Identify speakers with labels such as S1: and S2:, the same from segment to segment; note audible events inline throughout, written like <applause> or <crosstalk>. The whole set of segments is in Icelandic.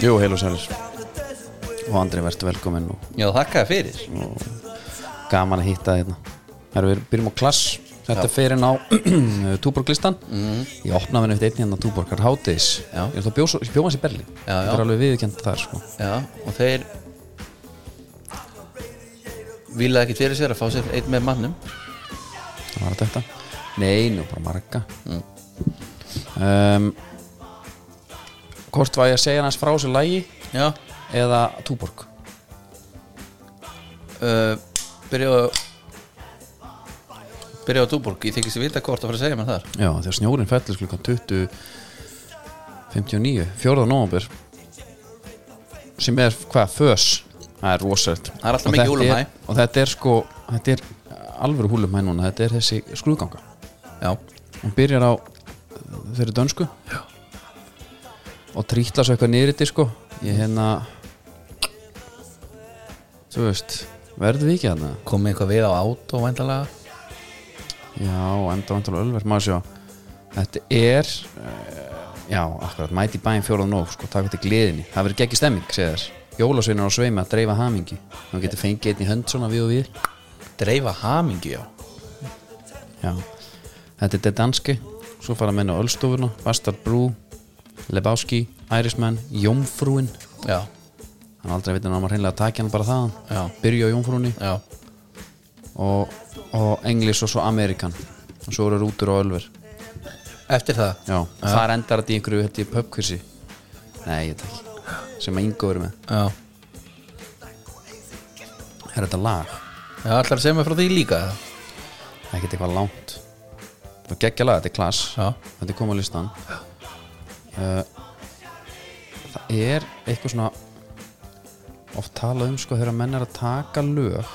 S1: Jú, heil og sælis
S2: og Andri verðst velkominn og
S3: Já, þakkaði fyrir
S2: gaman að hitta þig hérna Herra, við byrjum á klass þetta er fyrir á <clears throat> eh, túborglistan mm. ég opnaði henni eftir einn hérna túborgar hátis
S3: Já.
S2: ég er þá bjóð, bjóð hans í Berlín
S3: Já,
S2: þetta
S3: já.
S2: er alveg viðkjönd þar sko.
S3: Já, og þeir Vilaði ekki fyrir sér að fá sér einn með mannum
S2: það var þetta nei, nú bara marga um, hvort var ég að segja hans frá sér lægi
S3: Já
S2: eða túborg
S3: uh, Byrjaði að Byrjaði á Túborg Ég þykist að vita hvort að fara að segja mér þar
S2: já, þegar snjórin fellur klukkan 20 59, 4. november sem er hvað, fös það er rosalegt
S3: Það er alltaf
S2: Og
S3: mikið
S2: þetta
S3: húllumhæ.
S2: er- og þetta er sko, þetta er alvöru húlumhæ núna, þetta er þessi skrúðganga
S3: Já
S2: hún byrjar á þeirri dönsku já. og trítlar svo eitthvað nýriti sko ég hérna þú veist verðum við ekki hérna
S3: Komið eitthvað við á át og væntalega
S2: já, enda vantalega ölver, maður sjá þetta er uh, já, akkurat, mæti bæinn fjórað nóg sko, takk þetta gleðinni, það verður geggi stemming segir þess, jólasveinar á sveimi að dreifa hamingi þú getur fengið einn í hönd svona við og við
S3: Dreifa hamingju já
S2: já, þetta er þetta danski svo fara menn á Ölstofuna, Bastard Brú Lebowski, Irishman Jómfrúin
S3: Já,
S2: hann aldrei veit hann að maður hreinlega að taka hann bara það
S3: Já.
S2: byrja á jómfrúni
S3: já
S2: og, og englis og svo Amerikan og svo eru rútur og ölver já,
S3: Eftir það
S2: þar endar þetta í einhverju þetta í pubkvissi nei, ég veit ekki sem að Ingo verið með
S3: Já
S2: er þetta lag,
S3: Já, ætlar að segja mér frá því líka eða?
S2: ekkert eitthvað langt það var geggja lag, þetta er klass
S3: Já.
S2: þetta er komið á listan uh, það er eitthvað svona oft talað um sko þegar menn er að taka lög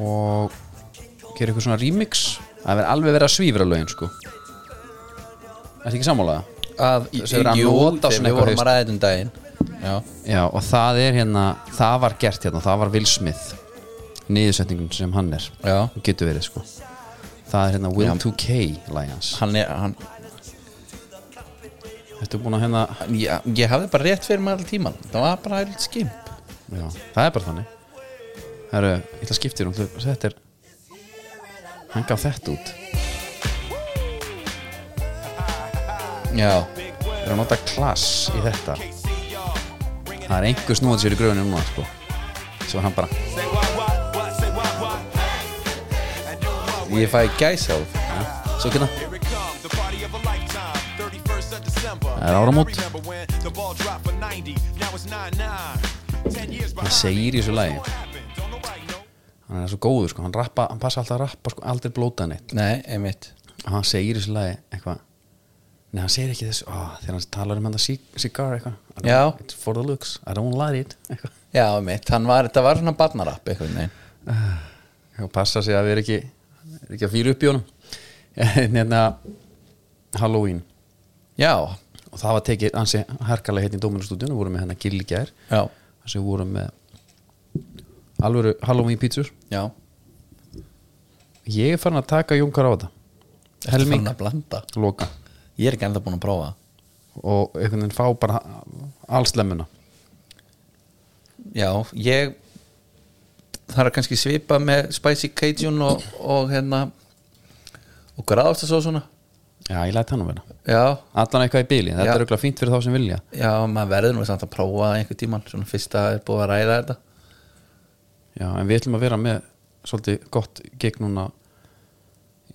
S2: og gera eitthvað svona remix það er alveg verið að svífra lögin sko er þetta ekki sammálaða?
S3: að
S2: Þessi verið að
S3: jú,
S2: nota
S3: þegar
S2: svona
S3: við
S2: eitthvað
S3: vorum að ræða þetta um daginn já,
S2: Já og það er hérna það var gert hérna, það var Will Smith niðursetningun sem hann er
S3: já,
S2: getur verið sko það er hérna Will 2K Lions
S3: hann er hann,
S2: Þetta er búin að hérna
S3: já, ég hafði bara rétt fyrir maður tíman, það var bara eitthvað skimp
S2: Já, það er bara þannig Það eru, ég ætla að skipta þér um þau Þetta er Hann gaf þetta út
S3: já,
S2: Það er að nota klass í þetta Það er einhver snúið sér í gröðinu núna sko. Svo hann bara
S3: ég fæ gæs á
S2: Svo hérna, kynna
S4: Here it comes, the party of a lifetime. 31st of December.
S2: Það er áramót.
S4: Remember when the ball dropped for 90, now it's 99. 10 years
S2: Það
S4: behind.
S2: segir í þessu lagi
S4: Happened, don't nobody know.
S2: Hann er svo góður sko Hann, rappa, hann passa alltaf að rappa sko Aldrei blóta neitt
S3: nei, einmitt
S2: Og hann segir í þessu lagi eitthvað Nei, hann segir ekki þessu Ó, Þegar hann talar um hann það cigar eitthvað I don't-
S3: Já.
S2: It's for the looks I don't like it Eitthvað
S3: já, einmitt, hann var, þetta var svona barnarapp eitthvað, nei,
S2: og passa sig að við erum ekki, er ekki að fýra upp í honum hérna Halloween
S3: já,
S2: og það var tekið ansi harkalega hérna í Dóminustúdíun við vorum með hennar Gilli gær
S3: já
S2: þess að við vorum með alvöru Halloween pítsur
S3: já,
S2: ég er farin að taka jónkar á þetta Helming.
S3: Ertu farin að blanda
S2: loka
S3: ég er ekki enda búin að prófa
S2: og einhvern veginn fá bara alls lemmuna
S3: já, ég það er kannski svipað með spicy cajun og, og hérna og gráðastasósuna
S2: já ég læt hann að vera
S3: já,
S2: allan eitthvað í bíli, þetta
S3: Já.
S2: er auðvitað fínt fyrir þá sem vilja
S3: Já, maður verður nú samt að prófa það einhvern tíman svona fyrsta er búið að ræða þetta
S2: já, en við ætlum að vera með svolítið gott gegn núna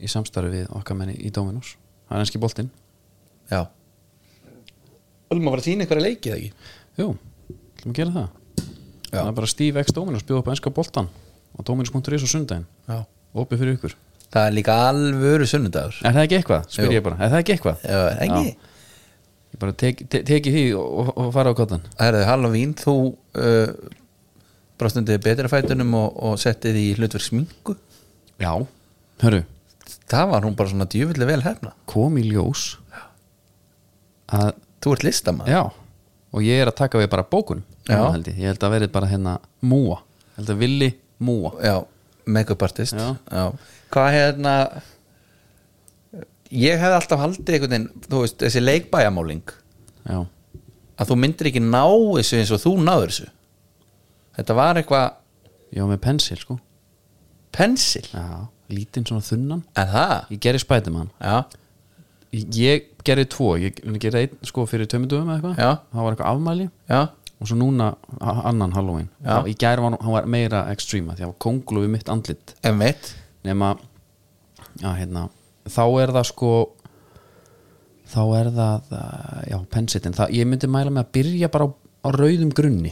S2: í samstarfi við okkar menni í Dóminus það er enski boltinn
S3: Já Ölum að vera að sína einhverja leikið eða ekki
S2: Jú, ætlum að gera það
S3: Já.
S2: Það er bara Steve X Dominus bjóð upp á enska boltan á dominus.is á sundaginn
S3: Já
S2: opið fyrir ykkur
S3: Það er líka alvöru sunnudagur
S2: Er það ekki eitthvað? Spyr
S3: Jú.
S2: ég bara, er það ekki eitthvað?
S3: Já, ekki
S2: Já. Ég bara tek, te, teki því og, og, og fara á kottan
S3: Það er þau Halloween þú uh, brostundið betra fætunum og, og settið í hlutverk sminku
S2: Já Hörru,
S3: Það var hún bara svona djúvillig vel hefna
S2: kom í ljós að,
S3: Þú ert listamann
S2: Já Og ég er að taka við bara bókun
S3: Já.
S2: held ég. ég held að verið bara hérna múa Ég held að villi múa
S3: Já, make-up artist
S2: Já.
S3: Hvað hérna Ég hefði alltaf haldið einhvern veginn, þú veist, þessi leikbæjamáling
S2: Já
S3: að þú myndir ekki ná þessu eins og þú náður þessu þetta var eitthvað
S2: ég var með pensil sko
S3: pensil
S2: já, lítinn svona þunnan
S3: en það,
S2: ég gerði Spiderman
S3: já,
S2: ég gerði tvo, ég ég gerði einn sko fyrir tömyndum eða eitthvað
S3: Já.
S2: það var eitthvað afmæli
S3: já,
S2: og svo núna a- annan Halloween
S3: Já.
S2: þá, í gær var hann var meira ekstríma því að konglu við mitt andlit
S3: emmitt
S2: nema já, hérna, þá er það sko þá er það uh, já, pensitin, það, ég myndi mæla með að byrja bara á, á rauðum grunni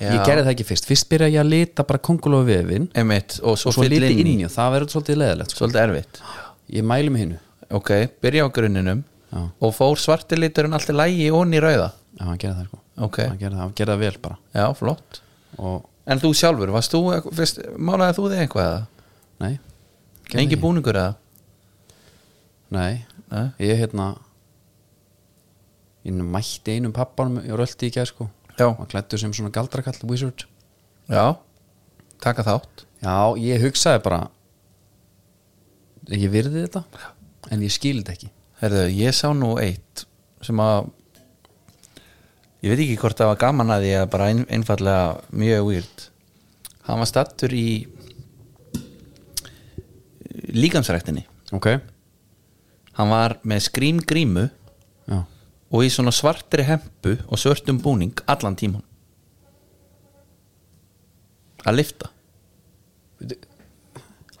S3: já,
S2: ég gerði það ekki fyrst, fyrst byrja ég að lita bara konglu við vefin
S3: einmitt, og svo,
S2: og svo
S3: fyll
S2: liti inn í og það verður svolítið leðilegt sko.
S3: svolítið erfitt
S2: ég mæli með hinnu,
S3: ok, byrja á grunninum
S2: Já.
S3: og fór svartiliturinn alltaf lægi onni í rauða
S2: já, hann gerði það sko
S3: ok,
S2: hann gerði það, hann gerði það vel bara
S3: já, flott
S2: og,
S3: en þú sjálfur, varst þú, fyrst, málaði þú þig eitthvað eða?
S2: nei, Gerði
S3: engi
S2: ég.
S3: búningur eða?
S2: nei
S3: Nei?
S2: ég hérna ég mætti einum pappanum og röldi í gær sko
S3: já,
S2: og klættu sem svona galdrakall wizard
S3: já, taka þátt
S2: já, ég hugsaði bara ég virði þetta en ég skil þetta ekki
S3: Herðu, ég sá nú eitt sem að ég veit ekki hvort það var gaman að því að bara ein, einfallega mjög weird hann var stattur í eh, líkamsræktinni
S2: ok,
S3: hann var með skrím grímu
S2: já,
S3: og í svona svartri hempu og svörtum búning allan tíman að lifta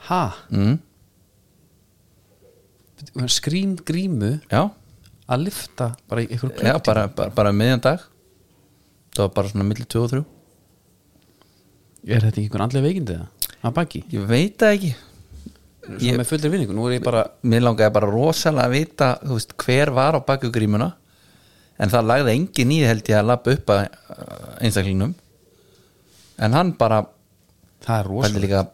S2: ha
S3: mm.
S2: skrím grímu
S3: já,
S2: að lifta bara í einhverju
S3: já bara, bara, bara um miðjan dag það var bara svona milli 2 og 3
S2: er þetta ekki einhvern andlega veikindi það? að baki,
S3: ég veit það ekki
S2: ég... með fullri vinningu nú er ég bara,
S3: mér langaði bara rosalega að vita þú veist, hver var á baku grímuna en það lagði engin í held ég að lappa upp að að einstaklingnum en hann bara
S2: það er
S3: hann
S2: rosalega
S3: líka að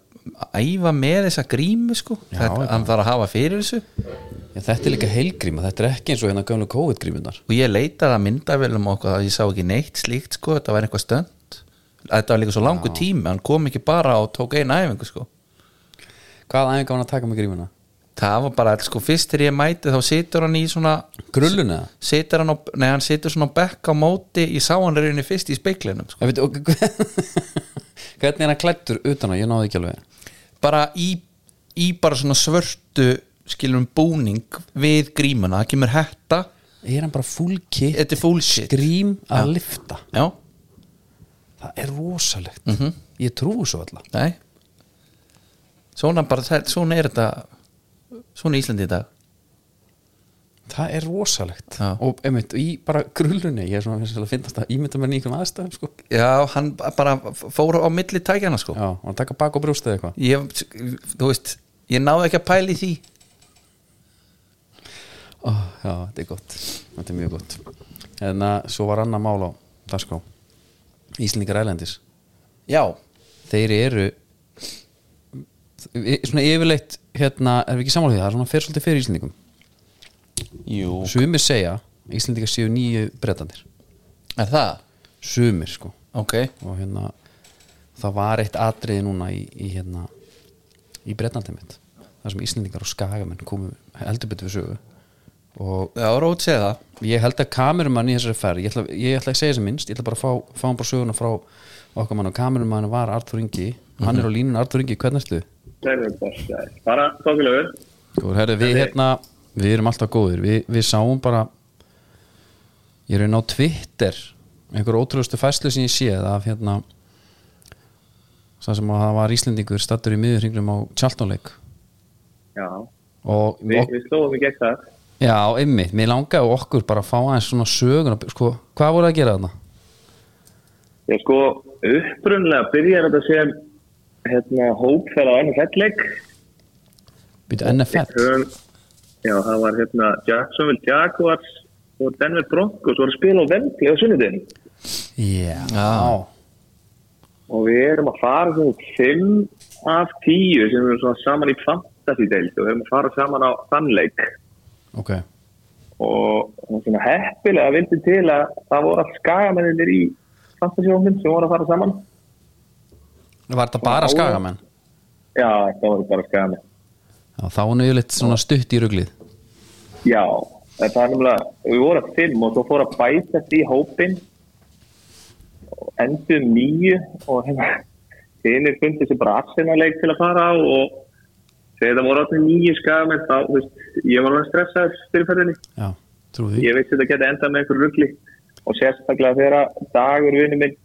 S3: æfa með þessa grímu sko
S2: Já,
S3: Þetta,
S2: já.
S3: hann þarf að hafa fyrir þessu
S2: já, þetta er líka heilgríma, þetta er ekki eins og hérna gömlu COVID-grímunar
S3: og ég leitaði að myndavélum og okkur, ég sá ekki neitt slíkt sko þetta var eitthvað stönd þetta var líka svo langu tími, hann kom ekki bara og tók eina æfingu sko
S2: hvað aðeins gaf hann að taka með grímuna?
S3: það var bara, sko fyrst þegar ég mæti þá situr hann í svona
S2: grulluna?
S3: situr hann á, nei hann situr svona á bekk á móti, ég sá hann reyni fyrst í speiklinum sko.
S2: Ég veit, og, <laughs> hvernig er hann klættur utan á, ég náði ekki alveg
S3: bara í, í bara svona svörtu skilum búning við grímuna, það kemur hetta
S2: er hann bara full kit
S3: þetta er full shit
S2: grím að lifta
S3: já,
S2: það er rosalegt ég trúi svo alla
S3: nei svona bara, það- svona er þetta svona í Íslandi í dag
S2: það er rosalegt
S3: Já.
S2: og einmitt, í bara grullunni ég er svona finnst að finnast að ímynda mér í einhverjum aðstæðum sko.
S3: já, hann bara fór á milli tækjana sko
S2: já, og hann taka bak og brjóstið eitthvað
S3: ég, þú veist, ég náði ekki að pæli því
S2: Ó, Ah, já, þetta er gott, þetta er mjög gott en að svo var annar mál á Daskó Íslendingar ælendis
S3: já,
S2: þeir eru e, svona yfirleitt hérna, erum við ekki sammála því, það er svona fyrir svolítið fyrir Íslendingum
S3: jú
S2: Sumir segja að Íslendingar séu nýju brettandir
S3: er það,
S2: Sumir sko
S3: ok
S2: og hérna það var eitt atriði núna í, í hérna í brettandi mitt þar sem Íslendingar og skagamenn komu heldur betur við sögu og
S3: já, Rót segði það
S2: ég held að kamerumann í þessari ferð ég ætla, ég ætla að segja sem minnst, ég ætla bara að fá, fá hann bara söguna frá okkar mann og kamerumann var Artur Ingi, hann er á línun Artur Ingi, hvernig ertu?
S1: Sæður bossa, bara tókulegur.
S2: Góður, herri, við hérna við erum alltaf góðir, við, við sáum bara ég er einn á Twitter einhver ótrúðustu fæslu sem ég séð af hérna það sem að það var Íslendingur stattur í miðurringlum á Tjaltónleik
S1: Já,
S2: og,
S1: Vi,
S2: og
S1: við slóðum í gegn það.
S2: já, einmitt, mér langaði okkur bara að fá aðeins svona söguna, sko, hvað voru að gera þarna?
S1: Ég sko, upprunlega byrjar þetta sem hérna, hópferð á ennum fettleik.
S2: Býtu NFL,
S1: Já, það var hérna Jacksonville Jaguars og Denver Broncos voru að spila á Vembley á sunnudin.
S2: já
S3: Já.
S1: Og við erum að fara svona 5 af 10 sem við erum svona saman í fantasy-deild og við erum að fara saman á þannleik.
S2: ok,
S1: og það var svona heppilega vildi til að það voru allt skagamennir í fantasíófnum sem voru að fara saman
S2: var þetta bara skagamenn?
S1: já, það voru bara skagamenn
S2: Já, þá er nú yfirleitt svona stutt í ruglið
S1: já, en það er nefnilega, við vorum fimm og svo fór að bætast í hópin endur nýju og hérna fundið sér bara aðsynarleik til að fara á og þegar það voru áttu nýju skagamenn þá, þú veist, ég var alveg stressaður fyrir ferðinni,
S2: já, trúi því
S1: ég veist þetta geti endað með einhver ruggli og sérstaklega þegar dagur vinnu minn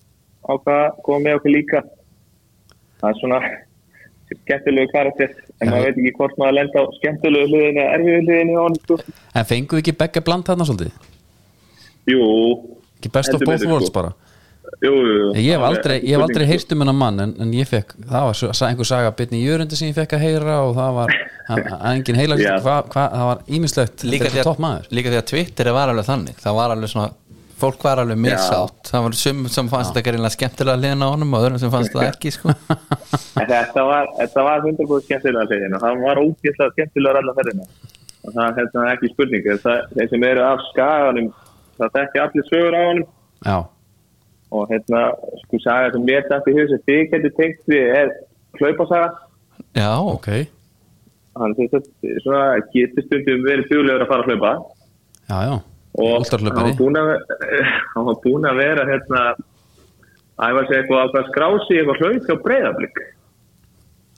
S1: á hvað kom með okkur líka það er svona skemmtilegu karakter en
S2: Já.
S1: maður veit ekki hvort maður lenda á skemmtilegu hliðinu eða erfiðu hliðinu á hann sko.
S2: en fenguðu ekki begge bland þarna svolítið
S1: Jú,
S2: ekki best of
S1: Heldur
S2: both
S1: betur,
S2: worlds
S1: sko.
S2: bara
S1: jú, jú
S2: ég hef aldrei, ég hef aldrei
S1: Spurning, sko.
S2: heyrt um hennar mann en, en ég fekk, það var svo- sa- einhver saga bitni í jörundi sem ég fekk að heyra og það var að- að engin heila
S1: Já.
S2: hva, hva, það var ímislegt,
S3: líka
S2: þetta er
S3: því,
S2: ekki topp
S3: að,
S2: maður
S3: líka því að Twitter var alveg þannig það var alveg svona, fólk var alveg misátt það var sum sem fannst þetta gerinlega skemmtilega liðin á honum og öðrum sem fannst það ekki sko.
S1: En Þetta var, þetta var 100% skemmtilega hliðinu það var ógeðslega skemmtilega allar ferðina og það er hérna ekki spurning það, þeir sem eru af skaganum það þekki allir sögur á honum
S2: já,
S1: og hérna, sko, saga sem mér dætti í hug sem þið getur tengt við er hlaupasaga
S3: já,
S2: ok
S1: hann sem sagt, svona getur stundum verið duglegur að fara að hlaupa
S2: já, já,
S1: og hann
S2: últarlöpari
S1: var búinn að, <laughs> hann var búin að vera hérna æfa sig eitthvað ákvað að skrá sig í eitthvað hlaup hjá breyðablík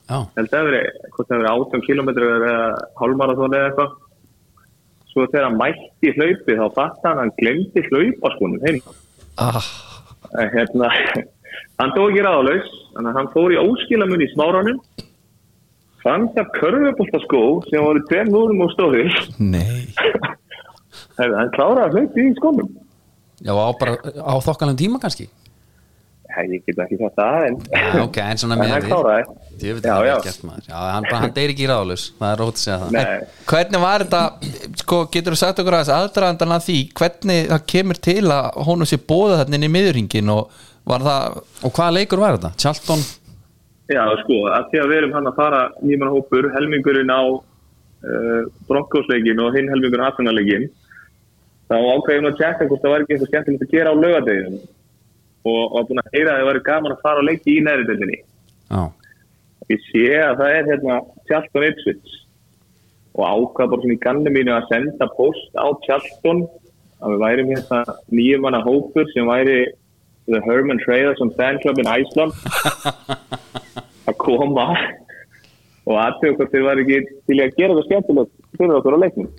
S2: já,
S1: held að veri, hvort það veri 18 km eða hálfmarathon eða eitthvað svo þegar hann mætti í hlaupi þá fatt hann að hann glemdi hlaupa skonum heim
S3: ah,
S1: En hérna, <laughs> hann dó ekki ráðlaus þannig að hann fór í óskilamun í smáranum fann það körfuboltaskó sem voru tveim núrum og <laughs> stóðil
S3: <laughs> nei
S1: hann kláraði að hlaupi í skónum
S2: já, á bara á þokkalegum tíma kannski
S1: Nei, ég get ekki sagt það en, <laughs>
S2: Já, ok, en svona
S1: en
S2: með
S1: hann kláraði
S2: Ég veit
S1: Já,
S2: það
S1: já.
S2: er gert maður Já, hann, bara- hann deyri ekki ráðlaus, það er rót að segja það
S1: Nei,
S3: hvernig var þetta sko, getur þú sagt okkur aðeins aðdraðandan að því hvernig það kemur til að honum sé bóða þarna inn í miðurringin og var það
S2: Og hvaða leikur var þetta? Charlton
S1: já sko, að því að við erum hann að fara nýmann hópur, helmingurinn á uh, bronkosleikin og hinn helmingurinn aðsynarleikin þá ákveðum við að tjekka hvort það var ekki eitthvað skemmtilegt að gera á laugadeginum og var búin að heyra að það væri gaman að fara á leiki í næriðeldinni
S2: Já,
S1: ég sé að það er hérna Tjallton Ipswich og ákvað bara svona í ganni mínu að senda post á Tjallton að við værum hérna nýjumanna hópur sem væri The Herman Trailers Fan Club in Iceland að koma og aðtöku hvort þeir var ekki til í að gera það skemmtilegt fyrir okkur á leiknum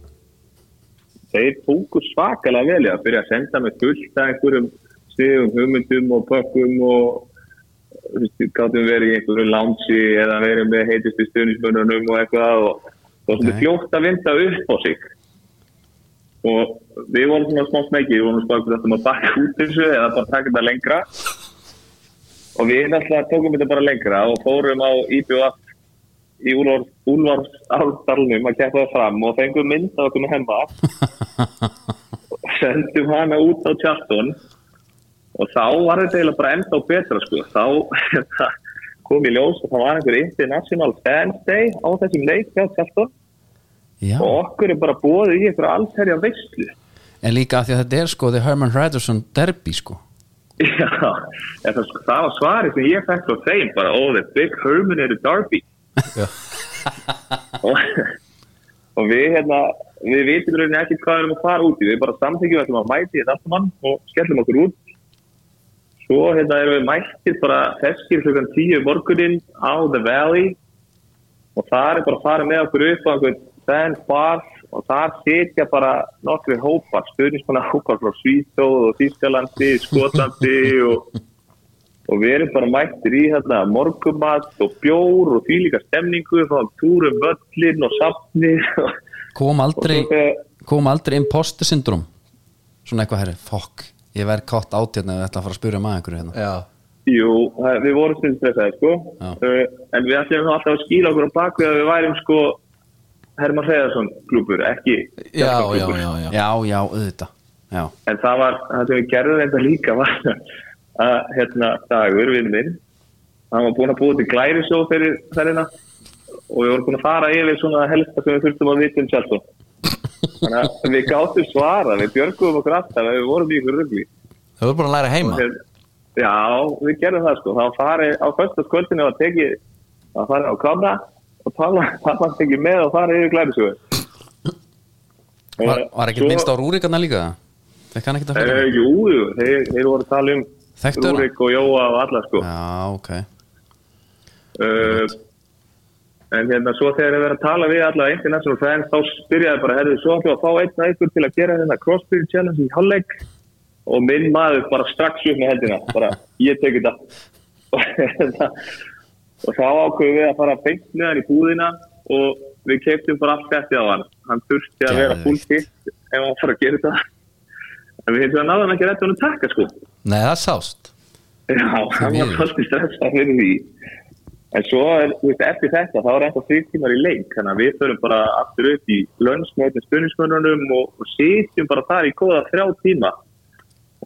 S1: þeir tóku svakalega vel í að byrja að senda með fullt að einhverjum stigum, hugmyndum og pökkum og þú veist, gáttum verið í einhverju lánsi eða verið með heitistu stuðnismönnunum og eitthvað og það var svona
S2: Nei.
S1: fljótt að vinda upp á sig og við vorum svona smá smekki, við vorum svona spáðum að baka út þessu eða bara taka þetta lengra og við náttúrulega tókum þetta bara lengra og fórum á IBF í Úlvarsdalnum að keppa það fram og fengum mynd af okkur með hemma og sendum hana út á tjartun og þá var þetta eiginlega bara enda og betra sko. þá <laughs> kom í ljós og það var einhver International Fans Day á þessum leik hjá Tjaldon
S2: já
S1: og okkur er bara bóðið í einhverja allherja veistlu
S2: En líka af því að þetta er sko The Herman Ryderson derby sko
S1: Já, en það, það var svarið sem ég fekk frá þeim bara, oh the big Herman er a derby <laughs> og, og við hérna við vitum rauninni ekki hvað við erum að fara út í við bara samþykjum ætlum að mæti þetta allt mann og skellum okkur út svo hérna erum við mættir bara feskir klukkan 10 morgunin á The Valley og þar er bara að fara með okkur upp á einhvern fan bar og þar sitja bara nokkri hópar, stöðnismanna hópar frá Svíþóð og Þýskalandi, Skotlandi og, og við erum bara mættir í þarna morgumat og bjór og fýlíka stemningu frá túrum völlin um og safnir og,
S2: Kom
S1: og svo
S2: aldrei,
S1: þegar
S2: kom aldrei imposter syndrom Svona eitthvað herri, fokk Ég verð kott át hérna ef ég ætla að fara að spyrja maður einhverju hérna
S3: já,
S1: <laughs> Jú, það- við vorum stundum stressaði sko
S2: Já.
S1: uh, en við ætlum þá alltaf að skýla okkur á bakvið að við værum sko Herman Hreðarsson klúpur, ekki
S3: já,
S1: Jackson
S3: já,
S1: klúbbur.
S3: já, já.
S2: Já, já, auðvitað Já,
S1: en það var, það sem við gerðum þetta líka var að hérna dagur vinn minn, hann var búinn að búa til glærisjó fyrir þærina og við vorum búin að fara yfir svona helsta sem við þurftum að vita um sjálfsó þannig að við gáttum svara við björgum okkur alltaf að við vorum í ykkur rugli
S3: þau voru búin að læra heima
S1: Þeir- Já, við gerðum það sko. Það var farið á föstaskvöldinu og tekið, það var farið á kamra og tala, það var tekið með og farið yfir glæðisögur.
S2: Var, var
S1: Eh,
S2: ekkert minnst á rúrikarna líka? Fekk hann ekkert að
S1: Uh,
S2: fyrir?
S1: jú, jú, þeir, þeir voru að tala um
S2: Þekktu hana?
S1: Rúrik og Jóa og alla sko
S2: Já, ok
S1: uh, En hérna svo þegar þeir verið að tala við alla international fans þá spyrjaði bara, herðu, svo ætlum við að fá einn og einhver til að gera þetta crossfit challenge í halleg og minn maður bara strax upp með heldina, bara ég teki þetta <laughs> og, hérna, og þá ákveðum við að fara beint með hann í búðina og við keiptum bara allt þetta á hann hann þurfti að vera
S2: Geðveikt.
S1: full hit ef hann fara að gera þetta en við hins vegar náðum ekki rétt að hann taka sko
S3: Nei, það sást
S1: Já, hann var
S2: miður.
S1: svolítið stressað fyrir því. En svo, er, þú veist, eftir þetta, þá er ennþá þrjú tímar í leik, þannig að við förum bara aftur upp í lönns með öllum stundinsmönnunum og, og sitjum bara þar í góða þrjá tíma.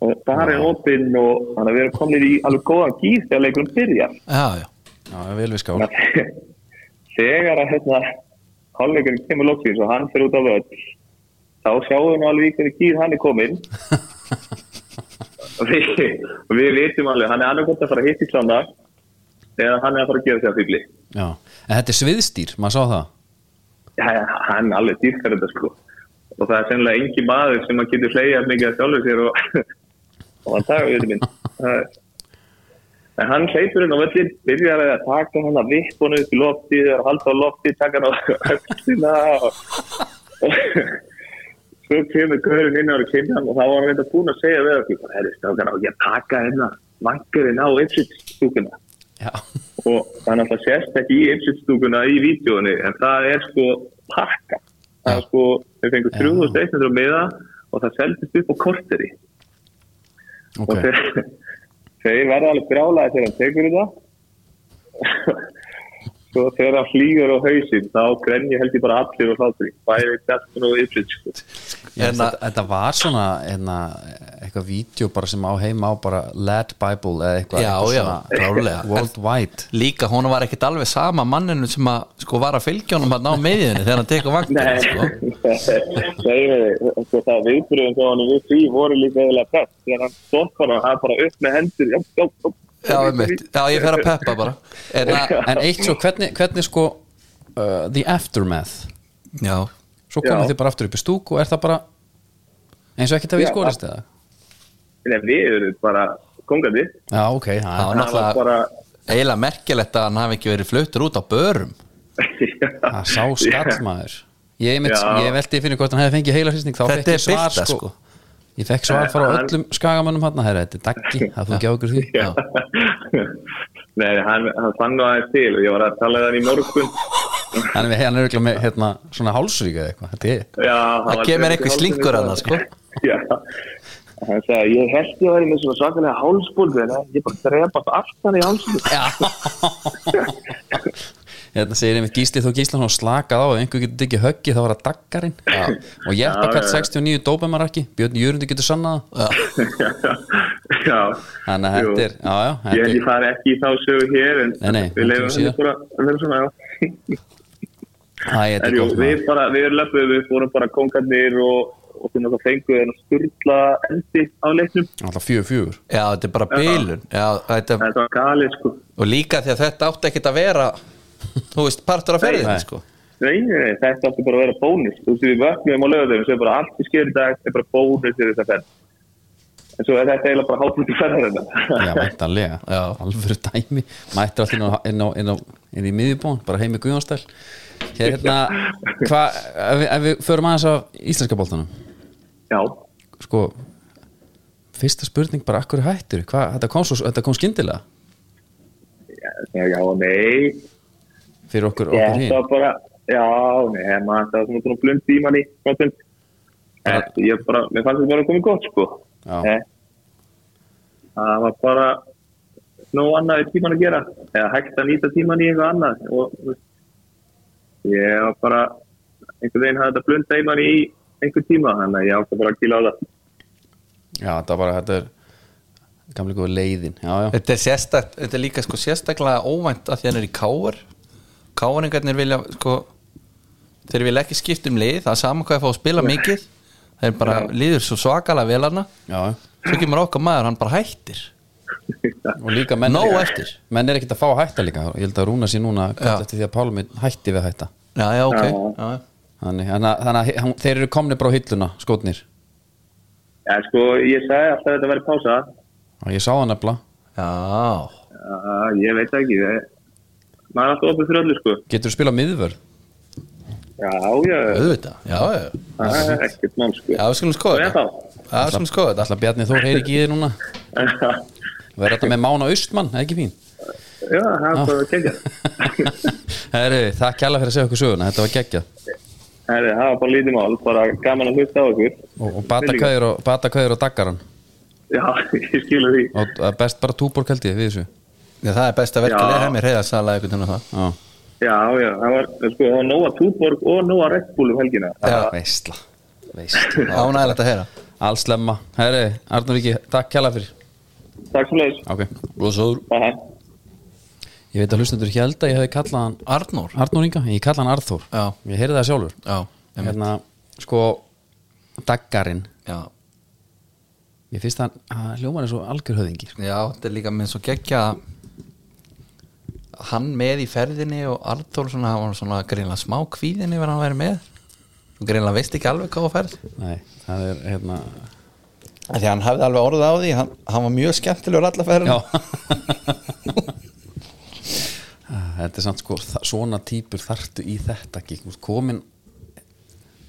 S1: Og bara er opinn og þannig að við erum komin í alveg góðan gýr þegar leikurum byrja.
S3: Já, já,
S2: Já, vel við skál
S1: Þannig að <laughs> þegar að hérna, hálfleikurinn kemur loksins og hann fyrir út á völd, þá sjáum við nú alveg í hvernig gýr hann er kominn. Og við, og við vitum alveg, hann er annarkvæmt að fara að hitta í klána eða hann er að fara að gera sig að fýbli.
S2: Já, en þetta er sviðstýr, maður sá það
S1: Hann er alveg dýrkar þetta sko. Og það er sennilega engi maður sem að getur hleyjað mikið að sjálfur sér og, <laughs> og hann tagar við þetta minn. Það er- En hann hleypur inn á völlin, byrjar að taka hann að vipp honum upp í lofti, er að halda á lofti, taka hann á <laughs> öllina og, og <laughs> svo kemur Körun inn ára kynnan og þá var hann reynda búin að segja við okkur, herri, strákan á ekki að taka hérna, vankurinn á einsittstúkuna
S2: <laughs> Já,
S1: og það náttúrulega sérst ekki í einsittstúkuna í vídjónu en það er sko pakka það er sko, þau fengur 3100 meða og það seldist upp á korteri
S2: ok
S1: og þeir, þeir verða alveg brjálaði þegar hann tekur þetta svo þegar hann flýgur á hausinn þá grenji held ég bara allir og hlátri bæði Destun og Ipswich sko.
S2: Já,
S3: En
S2: þetta,
S3: að-
S2: þetta var svona einna, eitthvað vídeo bara sem á heima á bara Lad Bible eða eitthvað
S3: Já,
S2: eitthvað
S3: já,
S2: svona
S3: klárlega.
S2: Worldwide
S3: líka hún var ekkit alveg sama manninu sem að sko var að fylgja honum að ná meðinu þegar hann tekur vangur sko.
S1: <laughs> Nei, nei, sko, það viðbröðum þá hann við því voru líka eða best þegar hann stótt bara, hann bara upp með hendur já, já, já,
S3: Já, einmitt. já, ég fer að peppa bara En að,
S2: En eitt svo, hvernig, hvernig sko uh, The Aftermath
S3: já,
S2: Svo komið
S1: Já.
S2: þið bara aftur upp í stúk og er það bara eins og ekkert að við
S1: Já,
S2: skorist eða
S1: Nei, við erum bara kongandi
S2: Já, ok, það
S3: það var
S1: það var
S3: náttúrulega
S1: bara
S3: eiginlega merkilegt að hann hafi ekki verið fluttur út á börum
S2: það
S1: <laughs>
S2: sá skallmaður Ég, mitt,
S1: Já.
S2: ég veldi fyrir hvort hann hefði fengið heila hristning þá
S3: Þetta
S2: fekk
S3: er
S2: ég svar
S3: bylta,
S2: sko.
S3: sko.
S2: Ég fekk svar frá
S1: Hann-
S2: öllum skagamönnum hann Herra, þetta er daggi, það
S1: <laughs>
S2: þú ekki á okkur því
S1: Já. Nei, hann, hann fann nú aðeins til og ég var að tala við hann í morgun
S2: Hann er, hann er örugglega með hérna, svona hálsrík eða eitthvað Þetta er
S1: Já, hann
S3: Það
S1: var- hérna
S3: kemur einhver slinkur að það sko
S1: <laughs> Já, hann sagði, ég held ég væri með svona svakalega hálsbólgu en ég bara drepast aftan í hálsbólgu.
S2: hérna segir einmitt Gísli þó Gíslan og slakað á ef einhver getur ekki höggi þá var það daggarinn og
S1: Já,
S2: Jeppakall
S1: já, já.
S2: 69 dópamararki Björn Jörundur getur sannað það.
S1: já,
S2: þannig að
S1: Jú.
S2: þetta er, já, já,
S1: ég held
S2: þetta
S1: ég fari ekki í þá sögu hér en
S2: Nei, nei,
S1: við leifum
S2: þetta
S1: henni
S2: síðar.
S1: bara að vera svona, já.
S2: er- Æ, þetta
S1: En
S2: er
S1: jú,
S2: gott
S1: við
S2: maður.
S1: bara, við löpum, við fórum bara kongarnir og, og þannig að það fengu en að sturla endi á leiknum.
S2: alltaf fjögur fjögur
S3: Já, þetta er bara bílun já, þetta,
S1: Það er svona galið, sko.
S3: Og líka því að þetta átti ekkit að vera Þú veist, partur af ferðinu
S2: Nei.
S3: sko
S1: Nei, nei, nei, þetta átti bara að vera bónus. Þú veist, við vöknum á lögðum sem bara allt í skjöru dag er bara bónus fyrir þess að ferð. En svo er þetta eiginlega bara hálfmyndi ferðarinn.
S2: já, væntanlega,
S3: Já.
S2: alvöru dæmi mættir allt inn, á, inn, á, inn, á, inn í miðjubón bara heimi Guðjónstæl hérna, hvað ef, við- ef við förum aðeins á íslenska boltanum
S1: <laughs> Já,
S2: sko fyrsta spurning bara, akkur hættur hvað, þetta kom, svo, þetta kom skyndilega
S1: já, já, nei,
S2: fyrir okkur, okkur hinn
S1: þetta var bara, já, nei, maður, það var svona svona blund díman í, hvað sem, ég bara, mér fannst þetta bara komið gott, sko.
S2: Já.
S1: Eh, Það var bara nóg annað við tíman að gera, eða hægt að nýta tíman í eitthvað annað og þú veist, ég var bara, einhvern veginn hafði þetta blund díman í einhver tíma, þannig að ég átti bara að kýla á það.
S2: Já, þetta var bara, þetta er gamlega góð leiðin, já, já,
S3: Þetta er, sérstak, þetta er líka sko sérstaklega óvænt að því hann er í káar Káaringarnir vilja sko þeir vilja ekki skipta um lið það er saman hvað að fá að spila mikið þeir bara líður svo svakalega vel hana
S2: já, já.
S3: svo kemur okkar maður, hann bara hættir
S2: og líka menn,
S3: Nóg
S2: er,
S3: eftir.
S2: menn er ekkert að fá að hætta líka, ég held að Rúna sé núna
S3: Já.
S2: eftir því að Pálmi hætti við að hætta
S3: Já, já, ok
S1: Já.
S3: já.
S2: Þannig þannig að, þannig að hann- þeir eru komni bara á hilluna, skotnir
S1: <laughs> Já, sko, ég sagði alltaf að þetta verið pása.
S2: og ég sá það nefnilega
S3: Já,
S1: Já, ég veit það ekki. Ég... Maður er alltaf opið fyrir öllu, sko.
S2: Getur þú spilað miðvörð?
S1: Já, já,
S3: auðvitað Já, já,
S1: það er ekkert mál, sko.
S3: já, við skulum skoða
S1: Og ég
S3: þetta
S1: þá.
S3: Já, við skulum skoða þetta
S2: Alltaf Bjarni Þór heyri ekki í þið núna Verða þetta með Mána Austmann, það er ekki fín
S1: <laughs>
S2: <laughs>
S1: Já, það er bara að kegja.
S2: Herru, það kjalla fyrir að segja okkur söguna, þetta var geggjað
S1: Það var bara lítið mál, bara gaman að hlusta á okkur.
S2: og, og batakvæður og, batakvæður og daggaran
S1: Já, <laughs> ég skilu því.
S2: og það er best bara túborg held ég við þessu
S3: Já, það er best að verka
S1: Já.
S3: leið hemmi reyða salega einhvern veginn á það
S2: Já,
S1: Já, já, það var, sko, það var Nóa Túborg og Nóa Red Bull um helgina.
S3: Já.
S2: veistla Veistla,
S3: Ánægilegt að heyra
S2: allslemma Herru, Arnur Viki, takk kjalla fyrir
S1: Takk svo leiðis.
S2: Ok, blóðsóður
S1: Bæ.
S2: Ég veit að hlustendur held að ég hefði kallað hann
S3: Arnór
S2: Arnur Inga, ég kalla hann Arþór
S3: Já.
S2: Ég heyrði það sjálfur
S3: Já, einmitt.
S2: Hérna, sko, daggarinn
S3: já,
S2: Ég finnst hann, hann hljómar eins og algjör höfðingi sko.
S3: já, þetta er líka með svo geggja Hann með í ferðinni og Arnór svona, hann var svona greinlega smá kvíðinni verðan að vera með og greinlega veist ekki alveg hvað á ferð
S2: Nei, það er hérna
S3: Af Því að hann hafði alveg orðið á því, hann, hann var mjög skemmtilegur alla <laughs> ferðin
S2: Já Þetta er samt sko þa- svona típur þartu í þetta ekki Þú ert komin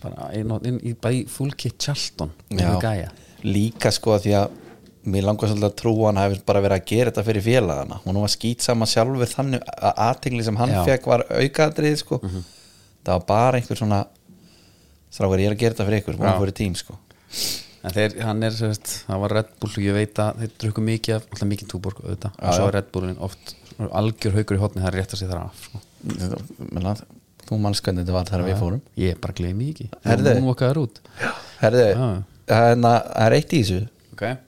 S2: bara inn, á- inn í, bara í fúlki tjaldon
S3: Já, líka sko að því að mér langar svolítið að trúa hann hafi bara verið að gera þetta fyrir félagana og nú var skýtsama sjálfur þannig að aðtingli sem hann
S2: Já. Mhm.
S3: fekk var aukaðrið sko það var bara einhver svona strákar ég er að gera þetta fyrir ykkur,
S2: Já.
S3: maður fyrir tím sko
S2: En þeir, hann er sem sagt, það var Red Bull ég veit að þeir drukku mikið af, alltaf mikið túborg auðvitað, og svo er Red Bullin oft svona algjör haukur í hotni, það réttar sig þar af sko.
S3: Menna, þú manns hvernig þetta var þar að við fórum
S2: ég bara gleymi því ekki,
S3: Herðu.
S2: nú okkar út
S3: Herðu,
S2: Já.
S3: hérna, það er eitt í þessu
S2: okay.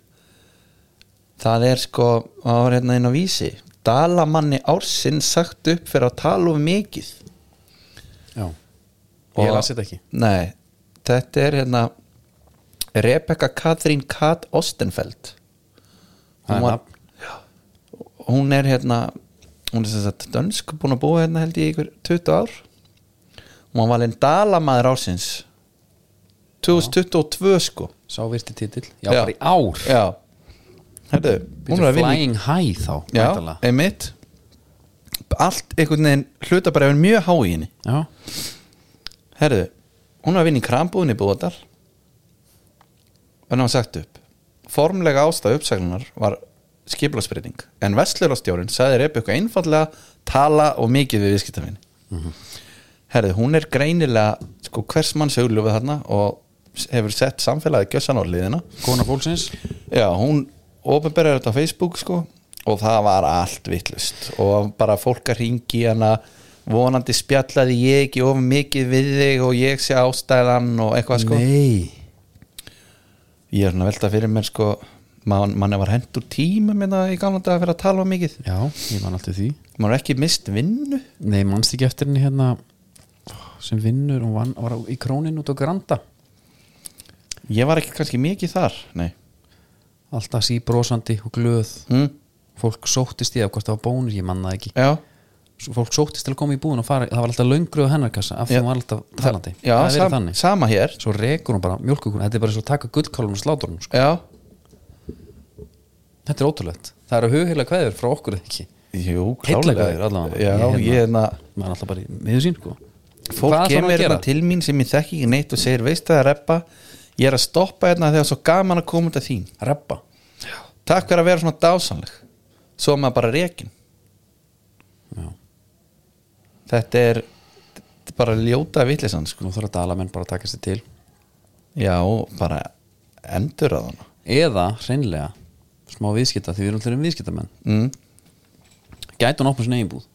S3: það er sko, það var hérna inn á vísi Dalamanni ársinn sagt upp fyrir að tala of mikið
S2: Já,
S3: Og-
S2: ég lasi þetta ekki
S3: Nei, þetta er hérna Rebecca Katrín Kat Ostenfeld
S2: Það er
S3: var-
S2: nafn.
S3: hún er hérna hún er sem sagt dönsk búin að búa hérna held ég í ykkur 20 ár hún var valinn Dalamaður ársins 2022 sko
S2: sá virti titill, já, bara í ár
S3: Já, herðu hún er að vinna í-
S2: Flying High þá
S3: Já,
S2: væntanlega.
S3: einmitt allt einhvern veginn hluta bara hefur mjög há í henni
S2: Já,
S3: Herðu, hún var að vinna í krambúðinni búðardal en hann var sagt upp Formlega ástæð uppsaglunar var skipulagsbreyting en Vestlurastjórin sagði Rebekka einfallega tala og mikið við viðskiptafinni
S2: Mhm.
S3: Herðu, hún er greinilega sko, hvers manns auðlöfu þarna og hefur sett samfélagið gjössan á liðina
S2: kona fólksins
S3: Já, hún ofinberðar þetta á Facebook sko og það var allt vittlust og bara fólk að ringi hana vonandi spjallaði ég ekki of mikið við þig og ég sé ástæðan og eitthvað sko
S2: Nei
S3: Ég er svona að velta fyrir mér sko man, manni var hendur tíma minna hérna í gamla daga fyrir að tala of mikið
S2: Já, ég man alltaf því
S3: maður er ekki mist vinnu
S2: Nei, manst ekki eftir henni hérna sem vinnur, hún vann, var í krónin út á Granda
S3: ég var ekki kannski mikið þar nei
S2: alltaf síbrosandi og glöð
S3: hm?
S2: fólk sóttist í, af hvort það var bónur, ég manna ekki
S3: Já,
S2: Svo fólk sóttist til að koma í búin og fara það var alltaf löngröð hennarkassa af því
S3: Já.
S2: hún var alltaf talandi
S3: já
S2: það er verið
S3: sam,
S2: þannig
S3: sama hér
S2: svo rekur hún bara mjölkukun, þetta er bara svo að taka gullkálun og slátur hún, sko.
S3: Já,
S2: þetta er ótrúlegt það eru hugheila kveður frá okkur eða ekki
S3: jú,
S2: Heilla
S3: klálega
S2: kveður allavega.
S3: Já,
S2: Ég hérna-
S3: ég er hérna
S2: maður er alltaf bara í miður sín sko. Hvað
S3: fólk
S2: ætlar hann
S3: kemur
S2: að gera?
S3: hérna til mín sem ég þekki ekki neitt og segir veist það að reppa ég er að stoppa hérna þegar svo gaman að koma út af þín
S2: reppa
S3: takk fyrir að vera svona dásanleg svo er maður bara rekin
S2: Já.
S3: þetta er þetta er bara ljóta vitlisann sko.
S2: nú þarf að dala menn bara að taka sér til
S3: já, og bara endur að hana
S2: eða hreinlega smá viðskipta því við erum allir um viðskiptamenn
S3: mm.
S2: gæti hún opna sinni eiginbúð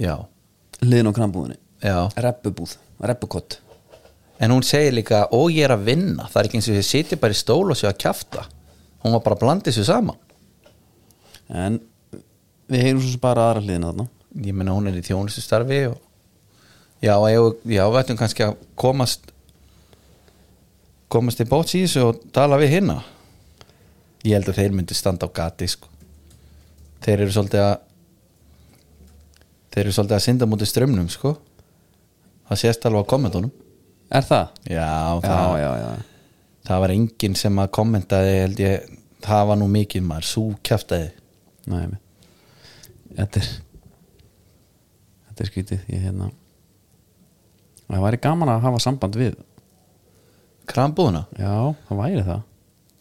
S3: já,
S2: liðin á krambúðinni
S3: já
S2: reppubúð, reppukott
S3: en hún segir líka, og ég er að vinna það er ekki eins og ég sitja bara í stól og sé að kjafta hún var bara að blandi þessu saman
S2: en við heyrum svo sem bara aðra liðina þarna
S3: ég meina hún er í þjónustustarfi og já, ég, já, við ættum kannski að komast komast í bóts í þessu og tala við hinna ég held að þeir myndu standa á gati sko. þeir eru svolítið að þeir eru svolítið að synda mútið strömmnum sko það sést alveg á kommentunum
S2: Er það?
S3: já,
S2: Já,
S3: það,
S2: já, já
S3: það var enginn sem að kommentaði held ég, það var nú mikið maður svo kjaftaði
S2: Nei, mér Þetta er Þetta er skrítið Ég hérna Það væri gaman að hafa samband við
S3: krambúðuna,
S2: Já, það væri það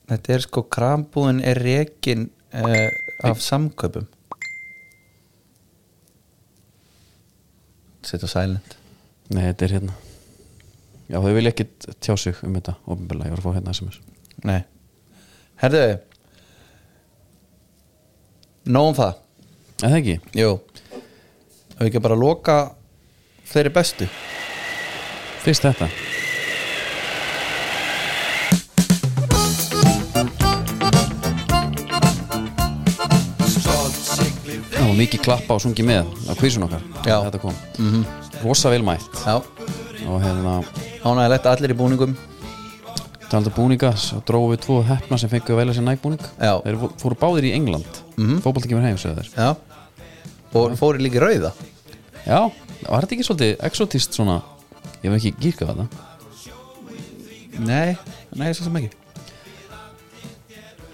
S3: þetta er sko krambúðin er rekin uh, af samkaupum sitt á silent
S2: Nei, þetta er hérna Já, þau vilja ekki tjá sig um þetta Opinbjörlega, ég var að fá hérna SMS
S3: nei, herðu nóg um það
S2: Eða ekki?
S3: Jú Og ekki bara loka Þeirri bestu
S2: Fyrst þetta Það var mikið klappa og sungi með á kvísun okkar
S3: Já. Mhm.
S2: Þetta kom mm -hmm. Rosa vel mætt
S3: Já
S2: og hérna
S3: Ánægilegt allir í búningum
S2: talda búninga, svo dróðum við tvo hefna sem fengu að velja sér nægbúning
S3: Já. Mhm.
S2: Þeir fó- fóru báðir í England mm -hmm. Fótbolti kemur heim, segðu þeir
S3: Já Og fóri líka í rauða
S2: Já, var þetta ekki svolítið exotist svona Ég var ekki gírkað að það
S3: Nei, nei, svo sem ekki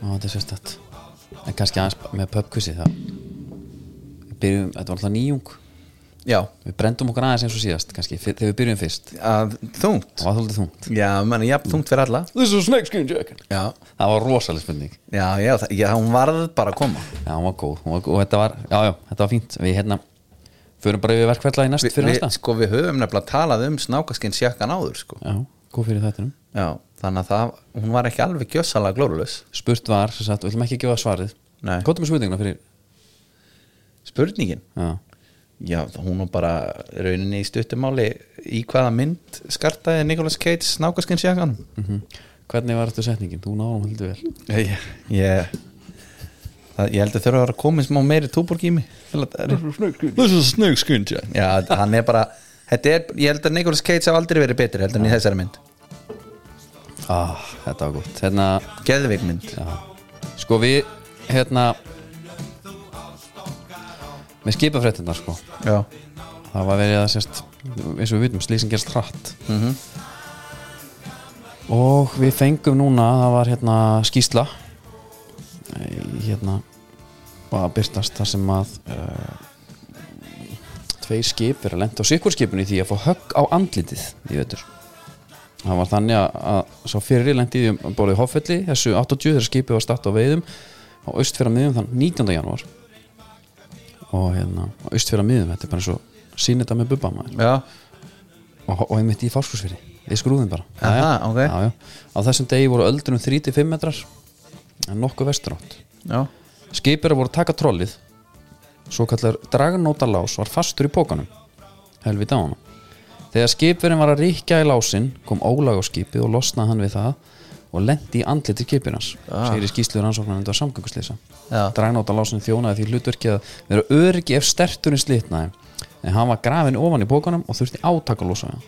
S2: Ó, þetta er sérstætt En kannski aðeins með pubquissi þá Við byrjum, þetta var alltaf nýjung
S3: Já
S2: Við brendum okkur aðeins eins og síðast kannski, fyr, þegar við byrjum fyrst
S3: að, Þungt
S2: Það var þóldið þungt
S3: Já, menn, jafn þungt fyrir alla
S2: This is a snake skin jacket
S3: Já
S2: Það var rosaleg spurning
S3: Já, já, það, já, hún varð bara að koma
S2: Já, hún var góð, hún var góð og þetta var, já, já, þetta var fínt Við hérna, förum bara yfir verkverðla í næst fyrir
S3: við,
S2: næsta
S3: Sko, við höfum nefnilega talað um snákaskinn sjakkan áður, sko
S2: Já, góð fyrir þættinum
S3: Já, þannig að það, hún var ekki alveg gjössalega glórulaus
S2: Spurt var, sem sagt, við ætlum ekki að gefa svarið
S3: Nei.
S2: Kóttum við spurninguna fyrir
S3: Spurningin
S2: Já,
S3: Já, hún var bara rauninni í stuttumáli í hvaða mynd skartaði Nicolas Cage snákaskinn sjakan
S2: mm Hvernig var þetta setningin? Þú náðum heldur vel
S3: ég, ég, það, ég held að þurfa að vera komin smá meiri túborg í mig til að það er- This is a snake skin jacket. Já, hann er bara þetta er, ég held að Nicolas Cage haf aldrei verið betri heldur en í þessari mynd,
S2: ah, Þetta var gott Hérna,
S3: geðveik mynd
S2: Já. Sko við hérna með skipafréttinnar sko
S3: Já,
S2: það var verið að sérst eins og við vitum, slýsing gerst hratt
S3: Mhm.
S2: og við fengum núna það var hérna skýsla eh, hérna að byrtast þar sem að uh, tveir skip er að lenda á sikkurskipinu í því að fá högg á andlitið í veitur það var þannig að, að sá fyrri lendi í því um borðið Hoffelli þessu 80 þegar skipið var statt á veiðum á austfjara miðum þann 19. janúar og hérna á austfjara miðum, þetta er bara eins og sýnir þetta með bubba maður
S3: já,
S2: og, og einmitt í fárskursfyrir við skrúðum bara
S3: Aha,
S2: Jæja.
S3: ok.
S2: já, já. á þessum degi voru öldunum 35 metrar en nokkuð vesturátt
S3: já,
S2: skipir voru að taka trollið svo kallar dragnótalás var fastur í pókanum helvita á hann þegar skipirinn var að ríkja í lásin kom ólag á skipið og losnaði hann við það og lendi í andliti skipirans ah. segir í skýslu rannsóknar undir samgönguslýsa
S3: Já.
S2: dragnótalásin þjónaði því hlutverki að vera öryggi ef sterturinn slitnaði en hann var grafin ofan í pókanum og þurfti átak að losa hann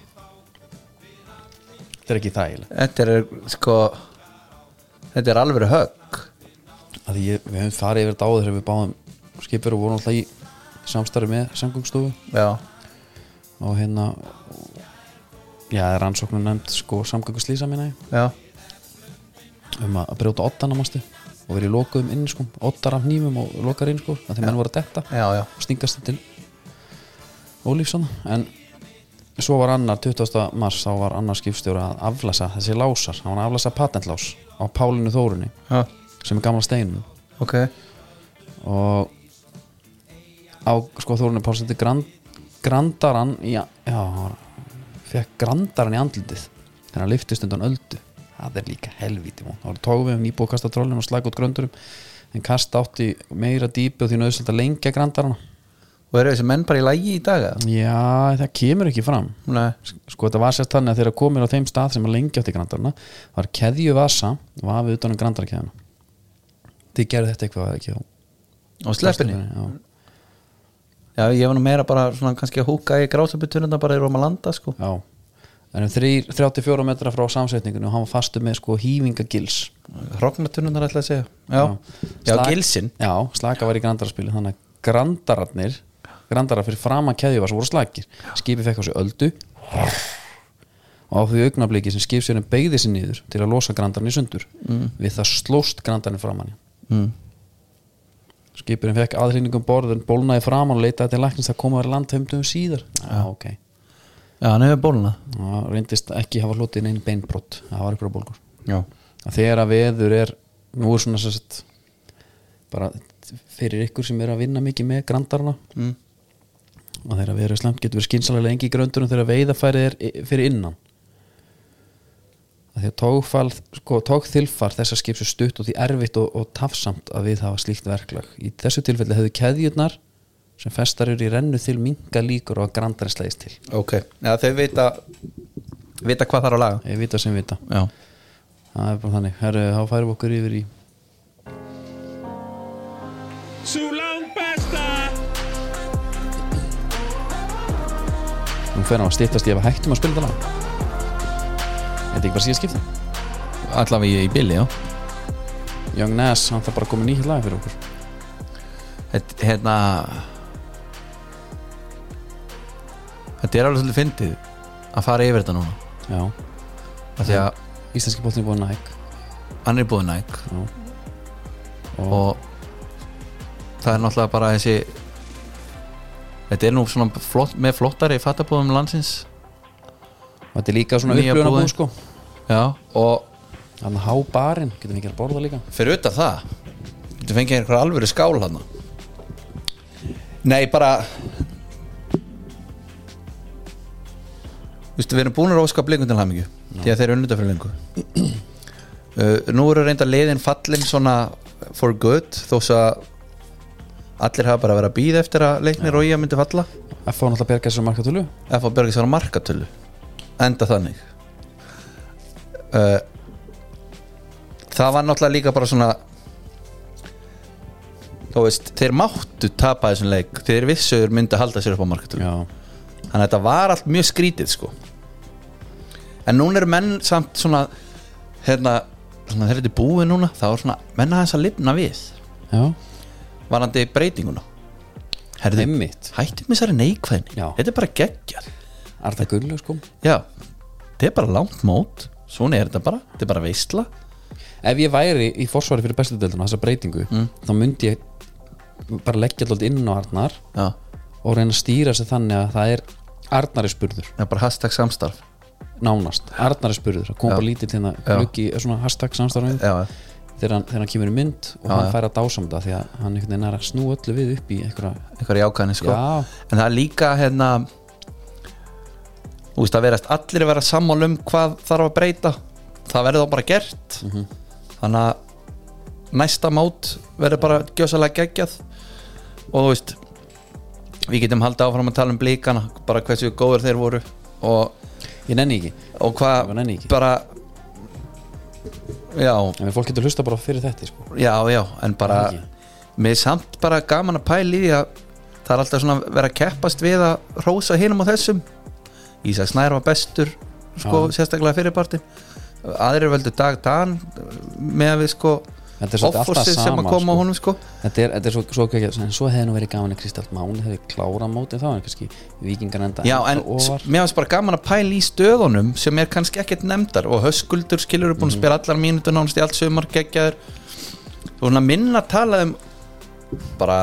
S2: þetta er ekki þægileg
S3: þetta er sko þetta er alveg högg
S2: að því ég, við höfum farið yfir þetta áður þegar við báðum skipur og vorum alltaf í samstarfi með samgöngstofu
S3: Já,
S2: og hérna já, það er rannsóknum nefnd sko samgönguslýsa minna ég
S3: já,
S2: um að að brjóta oddana mástu og verið lokuðum inn sko, oddar af nýmum og lokar inn sko, að þeim menn voru að detta
S3: já, já
S2: og stingast til Ólífsson en svo var annar 20. mars þá var annar skipstjóra að aflasa þessi lásar, hann var að aflasa patentlás á Pálinu Þórunni
S3: Já,
S2: sem er gamla steinum
S3: ok
S2: og á sko Þórunni Pálsson þetta grand, grandaran í, já, fekk grandaran í andlitið þannig að liftist undan öldu það er líka helvíti mún þá tókum við um nýbúið að kasta trollinu og slæk út gröndurum en kasta átti meira dýpi og því nöðsöld að lengja grandarana
S3: Og eru þessi menn bara í lægi í dag? eða?
S2: já, það kemur ekki fram
S3: Nei,
S2: sko þetta var sérst þannig að þeirra komir á þeim stað sem að lengja átti grandarana var keðju vasa og hafið utanum grandarkeðuna þið gerðu þetta eitthvað eða ekki á
S3: og sleppinni
S2: Já.
S3: Já, ég var nú meira bara svona kannski að húka í grásabutununa bara í Róma landa sko
S2: Já, en um þrír- 34 metra frá samsetningunni og hann var fastur með sko hývingagils
S3: Hrognatununar ætla að segja Já, já,
S2: Slak-
S3: gilsinn
S2: Já, slaka var í grandaraspili þannig að grandararnir grandarar fyrir framan keðjuvars voru slakir skipið fekk á sig öldu og á því augnabliki sem skipstjórinn beigði sér um niður til að losa grandarinn í sundur mm. við það slóst grandarinn framann
S3: Mm.
S2: skipurinn fekk aðlýningum borð en bólnaði framann og leitaði til læknist að koma að vera landheimdum síðar ja. ah, okay.
S3: Já, hann hefur bóluna
S2: það reyndist ekki hafa hlotið neinn beinbrott það var ykkur bólgur
S3: Já,
S2: að þegar að veður er nú er svona sérst bara fyrir ykkur sem er að vinna mikið með grandarna
S3: Mm.
S2: og þegar að veður er slemt getur verið skynsalega lengi í gröndunum þegar veiðafærið er i- fyrir innan að því að tókfall sko, tókþilfar þessar skip svo stutt og því erfitt og, og tafsamt að við hafa slíkt verklag í þessu tilfelli hefðu keðjurnar sem festar eru í rennu til minga líkur og að grandarinn slegist til
S3: ok Já, þau vita, vita hvað þarf að laga
S2: ég vita sem vita
S3: Já,
S2: það er bara þannig, herru, þá færum við okkur yfir í
S5: Sú langt besta
S2: Nú fer hann að stýttast í ef að hættum að spila þetta lag Þetta er ekki bara síðan skipti
S3: allavega í, í bili, já
S2: Young Ness, hann þarf bara að koma nýtt lag fyrir okkur
S3: Þetta, hérna Þetta er alveg svolítið fyndið að fara yfir þetta núna
S2: Já,
S3: af því að
S2: íslenski bóttin er búin að hæk
S3: hann er búið næk
S2: Já.
S3: og það er náttúrulega bara þessi þetta er nú svona flott, með flottari fattabúðum landsins
S2: Og þetta er líka svona
S3: Nýja
S2: upplöðan
S3: búðin.
S2: búin sko
S3: já, og
S2: Þannig að há barinn, getum við ekki að borða líka
S3: fyrir utan það þetta fengið einhver alvöru skál hann nei, bara Þú veistu, við erum búin að róska blikum til hamingju því að þeir eru unnvitað fyrir lengu uh, nú eru reynda liðin fallin svona for good þó svo að allir hafa bara verið að býða eftir að leiknir og ég myndi falla
S2: F.A. náttúrulega berga sér markatölu
S3: F.A. Björgis var á markatölu enda þannig uh, það var náttúrulega líka bara svona þú veist, þeir máttu tapa þessum leik, þeir vissuður myndu halda sér upp á markatölu
S2: Já,
S3: þannig að þetta var allt mjög skrítið sko en núna eru menn samt svona hérna, svona þegar þetta er búið núna þá er svona, menn aðeins að lifna við
S2: já,
S3: varandi breytinguna Herðu,
S2: Einmitt.
S3: hættum þessari neikvæðin
S2: Já.
S3: þetta er bara geggjað
S2: Arda Gullu sko
S3: Já, þetta er bara langt mót Svona er þetta bara, þetta er bara veistla
S2: Ef ég væri í forsvari fyrir bestu deildina, þessa breytingu
S3: Mm.
S2: Þá myndi ég bara leggja alltaf inn á Arnar
S3: Já,
S2: Og reyna að stýra sér þannig að það er Arnari spurður
S3: það er bara hashtag samstarf
S2: nánast, Arnar er spurður það kom bara lítið til það,
S3: Já.
S2: gluggi eh, svona hashtag samstæðan
S3: Já,
S2: þegar, hann- þegar hann kemur í mynd og hann fær að dásam það því að hann einhvern veginn er að snú öllu við upp í einhverja,
S3: einhverja jákvæðni sko
S2: Já.
S3: En það er líka hérna Þú veist að verast allir að vera sammála um hvað þarf að breyta Það verður þá bara gert Þannig að næsta mót verður bara gjössalega geggjað Og þú veist Við getum haldið áfram að tala um blíkana Bara hversu góður þeir voru Og,
S2: ég nenni ekki
S3: og hvað
S2: Ég nenni ekki.
S3: bara Já,
S2: en fólk getur hlusta bara fyrir þetta sko.
S3: Já, já, en bara
S2: Ekki.
S3: Mér er samt bara gaman að pæla í því að Það er alltaf svona að vera að keppast við að Rósa hinum og þessum Ísak Snær var bestur sko, Sérstaklega fyrirpartin Aðrir völdu Dag Dan Með að við sko
S2: Þetta er svolítið alltaf
S3: offorsið sem
S2: sama,
S3: að koma
S2: sko.
S3: á honum sko
S2: þetta er, þetta er svo, svo ekki en svo hefði nú verið gaman að Kristjálf Máni hefði klára mótið þá en kannski vikingar enda
S3: Já,
S2: ennþá
S3: en s-
S2: ofar
S3: mér finnst bara gaman að pæla í stöðunum sem er kannski ekkert nefndar og höskuldur skilur upp búin að spila allar mínútur nánast í allt sömur geggjaður og svona minna talað um bara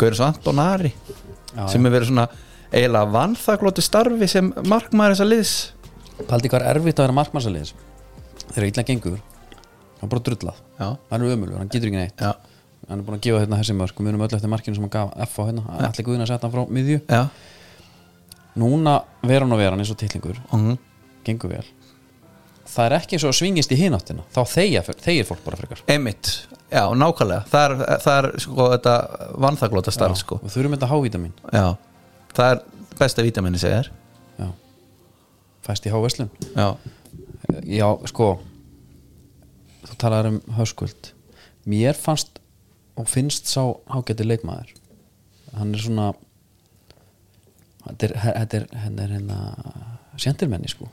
S3: Gaur svo Anton Ari sem hefur verið svona eiginlega vannþaklóti starfi sem markmaður þessa liðs
S2: paldi hvað er erfitt að vera markmannsaliðis þegar illa gengur hann er bara drullað,
S3: Já.
S2: hann er ömulur, hann getur ekki neitt
S3: Já,
S2: hann er búin að gefa hérna þessi mörg, við munum öll eftir markinu sem hann gaf F á hérna, allir guðin að setja hann frá miðju
S3: já,
S2: núna vera hann og vera hann eins og tillingur
S3: Mhm.
S2: gengur vel það er ekki eins og að svingist í hináttina þá þegja, þegir fólk bara frekar
S3: einmitt Já, nákvæmlega, það er, það er sko þetta vannþaklóta starf
S2: Já,
S3: sko
S2: og þurfum þetta hávita mín
S3: Já, það er besta vítaminni segir
S2: já. fæst í háveslun
S3: Já,
S2: já, sko þú talar um höskvöld mér fannst og finnst sá hágæti leikmaður hann er svona þetta er, þetta er, þetta er hérna sendirmenni sko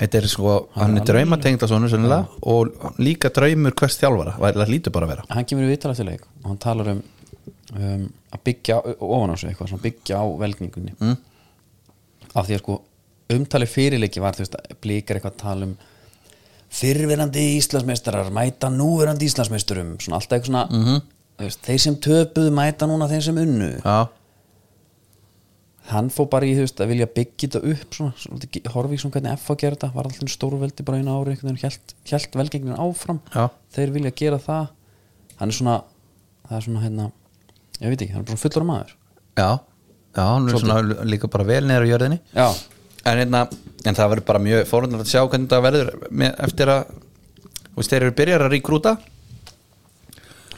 S3: þetta er sko hann er draumatengda svona sennilega og líka draumur hvers þjálfara það lítur bara að vera
S2: hann kemur í vital eftir leik og hann talar um, um að byggja o- ofan á sig eitthvað, svona byggja á velgningunni mm. af því að sko umtali fyrirleiki var þú veist, blíkar eitthvað að tala um fyrrverandi Íslandsmeistarar mæta núverandi Íslandsmeisturum svona alltaf eitthvað svona þú veist, þeir sem töpuðu mæta núna þeir sem unnu
S3: Já,
S2: hann fór bara í þú veist, að vilja byggja þetta upp svona, svona, horfi í svona hvernig F að gera þetta var alltaf stórveldi bara einu ári hjælt, hjælt velgengnin áfram
S3: Já.
S2: þeir vilja gera það hann er svona, það er svona hérna, ég veit ekki, hann er bara fullur maður
S3: já, já hann er svona líka bara vel neður á jörðinni
S2: já,
S3: en, hérna, en það verður bara mjög fórhundar að sjá hvernig það verður með, eftir að þú veist, þeir eru byrjar að ríkrúta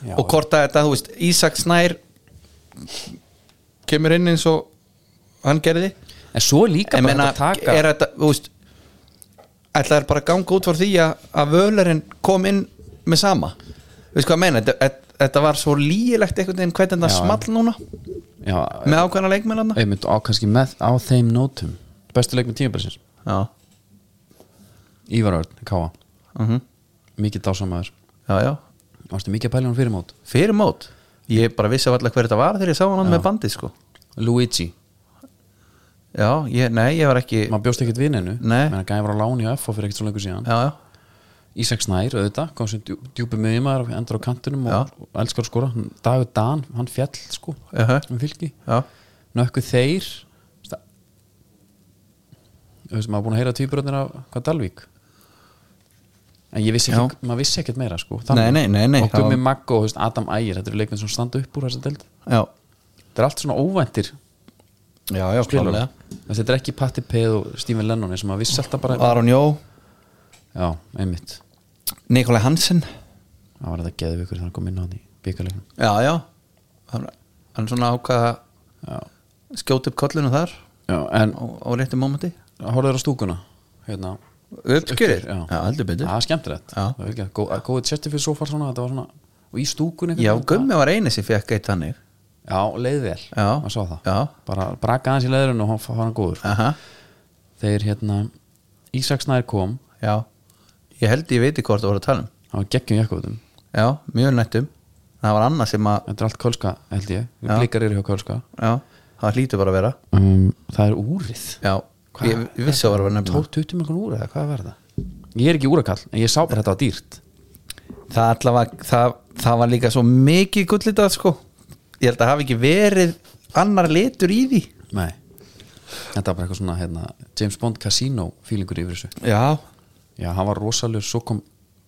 S2: já
S3: og hvort að þetta, þú veist, Ísak Snær kemur inn eins og hann gerði
S2: en svo er líka
S3: en
S2: bara
S3: meina,
S2: hægt að taka
S3: er þetta, þú veist ætlaði bara að ganga út frá því að, að völarinn kom inn með sama þú veist hvað að meina, þetta, þetta var svo lýgilegt einhvern veginn hvernig það
S2: Já.
S3: small núna
S2: já,
S3: með ákveðna leikmennarna
S2: einmitt á kannski með á þeim nótum bestu leik með tímabilsins
S3: já,
S2: Ívar Örn, Káa,
S3: uh
S2: mikið dásamæður
S3: já, já
S2: varstu mikið að pæla hann fyrir mót
S3: fyrir mót, ég bara vissi alltaf hver þetta var þegar ég sá hann með bandið sko
S2: Luigi,
S3: já, ég, nei, ég var ekki já,
S2: maður bjóst ekkert vinninu
S3: Nei.
S2: menn að gæði var á láni og F og fyrir ekkert svo lengur síðan
S3: já,
S2: Ísak Snær, auðvitað, kom sem djú, djúpi miðjumæður og endur á kantinum og,
S3: Já.
S2: og elskar að skora Dagur Dan, hann fjall sko
S3: Jaha.
S2: um fylki,
S3: uh-huh. já,
S2: nökku þeir sta- þú veist, maður búin að heyra tvíbröðnir af hvað Dalvík en ég vissi ekki, maður vissi ekkert meira sko
S3: Nei,
S2: þannig.
S3: nei, nei, nei,
S2: og
S3: það
S2: Gummi
S3: var-
S2: Maggo og þú veist, Adam Ægir, þetta eru leikmenn sem standa upp úr þessa deild
S3: já
S2: þetta er allt svona óvæntir
S3: já, já,
S2: spilarar.
S3: klálega
S2: Þú veist, þetta er ekki Patti Peð og Stephen Lennon sem maður vissi alltaf bara
S3: Aron Jó,
S2: já, einmitt,
S3: Nikolai Hansen
S2: það var þetta geðið ykkur þannig að koma inn á því byggarleiknum
S3: já, já hann hann svona ákvað að
S2: já,
S3: skjóta upp kollinu þar
S2: já, en
S3: á, á réttum mómenti
S2: horfður á stúkuna hérna
S3: uppgjörir,
S2: já.
S3: já, heldur betur
S2: það er skemmtilegt
S3: Já.
S2: Það var ekki að gó- að góðið tjæsti fyrir sofar svona, þetta var svona og í stúkunni
S3: já, Gummi var eini sem fekk eitt hannig
S2: já, leið vel,
S3: Já.
S2: maður sá það
S3: Já.
S2: bara braka aðeins í leiðurinn og hann var hann góður
S3: aha,
S2: þegar hérna Ísak Snær kom,
S3: já ég held ég veit hvort það voru að tala um
S2: hann var geggjum jakkuðum
S3: já, mjög um. nættum það var annað sem að,
S2: þetta er allt kölska held ég,
S3: Já.
S2: við blikar eru hjá kölska
S3: já, það hlýtur bara að vera
S2: um, það er úrið
S3: já,
S2: Hvað?
S3: ég, ég vissi að vera að nefna
S2: 12-20 mörgum úrið, eða hvað var það? ég er ekki úrakall, en ég sá bara þetta var dýrt
S3: það, allavega, það, það var líka svo mikið gullitað sko ég held að hafi ekki verið annar litur í því
S2: nei, þetta var bara eitthvað svona hérna, James Bond Casino feelingur yfir þessu
S3: já,
S2: Já, hann var rosalur, svo kom,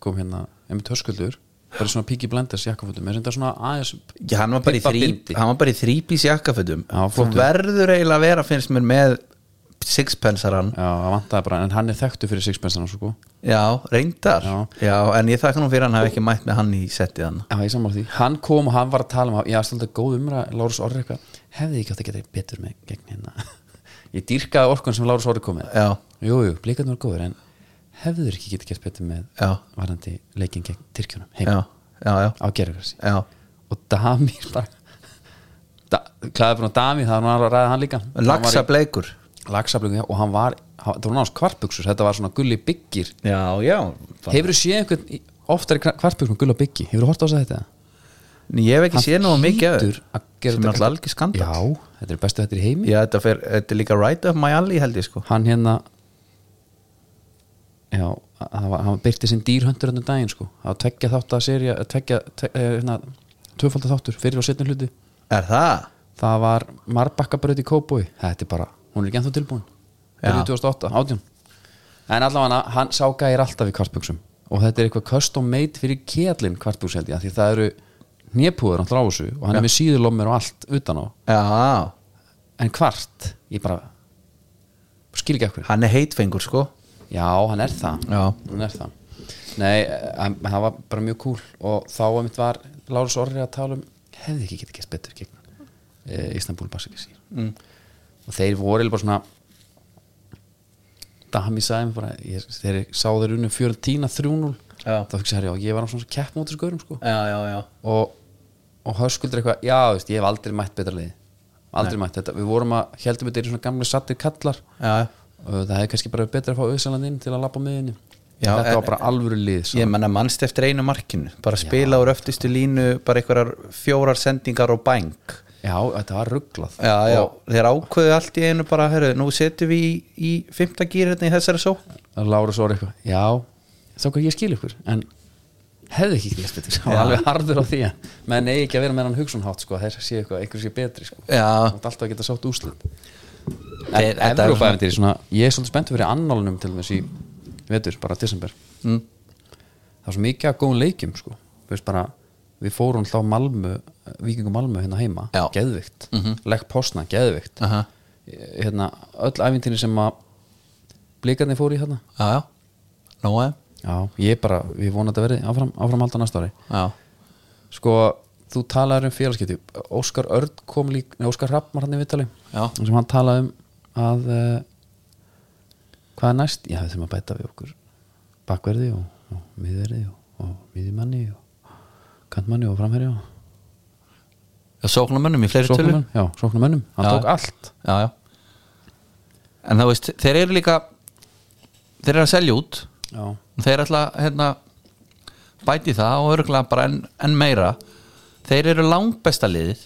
S2: kom hérna einmitt höskuldur, bara í svona Piggy Blenders jakkafötum, er þetta svona aðeins
S3: Já, hann var bara í
S2: Pippa
S3: þrý,
S2: bindi.
S3: hann var bara í þrýpís jakkafötum
S2: Já,
S3: þú
S2: flottur.
S3: verður eiginlega að vera finnst mér með sixpensaran
S2: Já, það vantaði bara, en hann er þekktu fyrir sixpensana sko.
S3: já, reyndar
S2: Já.
S3: en ég þakka nú fyrir að hann hafi ekki mætt með hann í settið hann
S2: Já, ég samar því, hann kom og hann var að tala um að- já, stöldi góð umra, Lárus Orri eitthvað hefði ekki átt að geta betur með gegn hérna <laughs> ég dýrkaði orkun sem Lárus Orri kom með
S3: já,
S2: Jú, jú, blikarnir voru góður, en hefður ekki geta gert betur með
S3: Já.
S2: varandi leikin gegn Tyrkjunum
S3: já,
S2: heim,
S3: já, já,
S2: á gerðargrassi
S3: já.
S2: og Damir bara da, klæði búin á Damir, það var nú alveg að ræða hann líka
S3: laxa bleikur
S2: Laxablöku, já, og hann var hann- þetta var náttúrulega kvartbuksur, þetta var svona gulli byggir
S3: já, já
S2: hefur þú séð einhvern í- oftar í kvartbuksur með gulli byggi, hefur þú hort á þess að þetta?
S3: ég hef ekki séð nú mikið af
S2: hlýtur
S3: þér
S2: að
S3: sem
S2: gera
S3: er
S2: þetta
S3: alltaf algjör skandal
S2: Já, þetta er bestu þetta í heimi
S3: Já, þetta, fer, þetta er líka right up my alley held ég sko
S2: hann hérna já, hann, var- hann byrti sinn dýrhöndur hann um daginn sko, það var tveggja þátt að serja tveggja, te, eh, hérna tvöfaldar þáttur, fyrir og setni hluti
S3: er það?
S2: það var Marbakkabraut í Kóboi þetta er bara, hún er ekki ennþá tilbúin
S3: Já.
S2: 2008, 18 en allavega hann sá gæir alltaf í kvartbuksum og þetta er eitthvað custom made fyrir kjallin kvartbuks held ég, af því það eru hnépúður alltaf á þessu og hann er með síðurlómur og allt utan á,
S3: já,
S2: en kvart ég bara, skil ekki ekkur
S3: hann er heitfengur sko
S2: já, hann er það
S3: Já.
S2: hann er það nei, hann, hann var bara mjög cool og þá einmitt var Lárus Orri að tala um hefði ekki getið gett betur gegn e, Istanbul Basikasi mm. og þeir voru eiginlega bara svona dami sagði mér bara ég, þeir sá þeir unum 14 3-0
S3: Já.
S2: þá fyrir sér já, ég var á svona kepp mótis gaurum sko
S3: já, já, já,
S2: og, og höskuldur eitthvað já, þú veist, ég hef aldrei mætt betra liði aldrei mætt þetta, við vorum að heldum þetta er svona gamlega sattir kallar
S3: já.
S2: og það hefði kannski bara verið betra að fá Össaland inn til að lappa miðinni
S3: Já,
S2: þetta
S3: en-
S2: var bara alvöru lið sko. svo.
S3: ég menna mannst eftir einu markinu bara spila úr öftustu línu bara einhverjar fjórar sendingar og bæng
S2: já, þetta var rugglað
S3: já, já, þeir ákveðu allt í einu bara herru, nú setjum við í, í fymta gýr hérna í þessari só
S2: að Lára svo eitthvað, já þá hvað ég skil ykkur, en hefði ekki gert þetta, það var alveg harður á því að menn eigi ekki að vera með hann hugsunhátt sko, þeir séu eitthvað, einhver sé betri sko
S3: já,
S2: þú ert alltaf að geta sátt úslit
S3: Þeir- þetta er
S2: Evrópa eventir, svona, ég er svolítið spenntur fyrir annálunum til þess í vetur, bara desember
S3: Mm.
S2: það var svo mikið að góðum leikjum sko. Þú veist, bara, við fórum þá Malmö, Víkingu Malmö hérna heima
S3: Já. Mhm.
S2: geðvikt, mm -hmm. legg posna, geðvikt
S3: Aha.
S2: hérna, öll æfintinni sem að blikarnir fóru í hérna
S3: já, já Nóa,
S2: já, ég bara, við vonum að þetta verði áfram, áfram alltaf næsta ári
S3: já,
S2: sko, þú talaður um félagskipti Óskar Örd kom líka nei, Óskar Rapp var hann í Vittali
S3: Já.
S2: sem hann talaði um að uh, hvað er næst já, við þurfum að bæta við okkur bakverði og, og miðverði og, og miðjumanni og kantmanni og framherja og
S3: já sóknumönnum í fleiri tölu
S2: sóknarmönnum, já, sóknarmönnum, hann
S3: Já.
S2: tók allt
S3: já, já en það veist, þeir eru líka þeir eru að selja út
S2: já,
S3: og þeir ætla hérna bæti það og örgulega bara enn en meira þeir eru langbesta liðið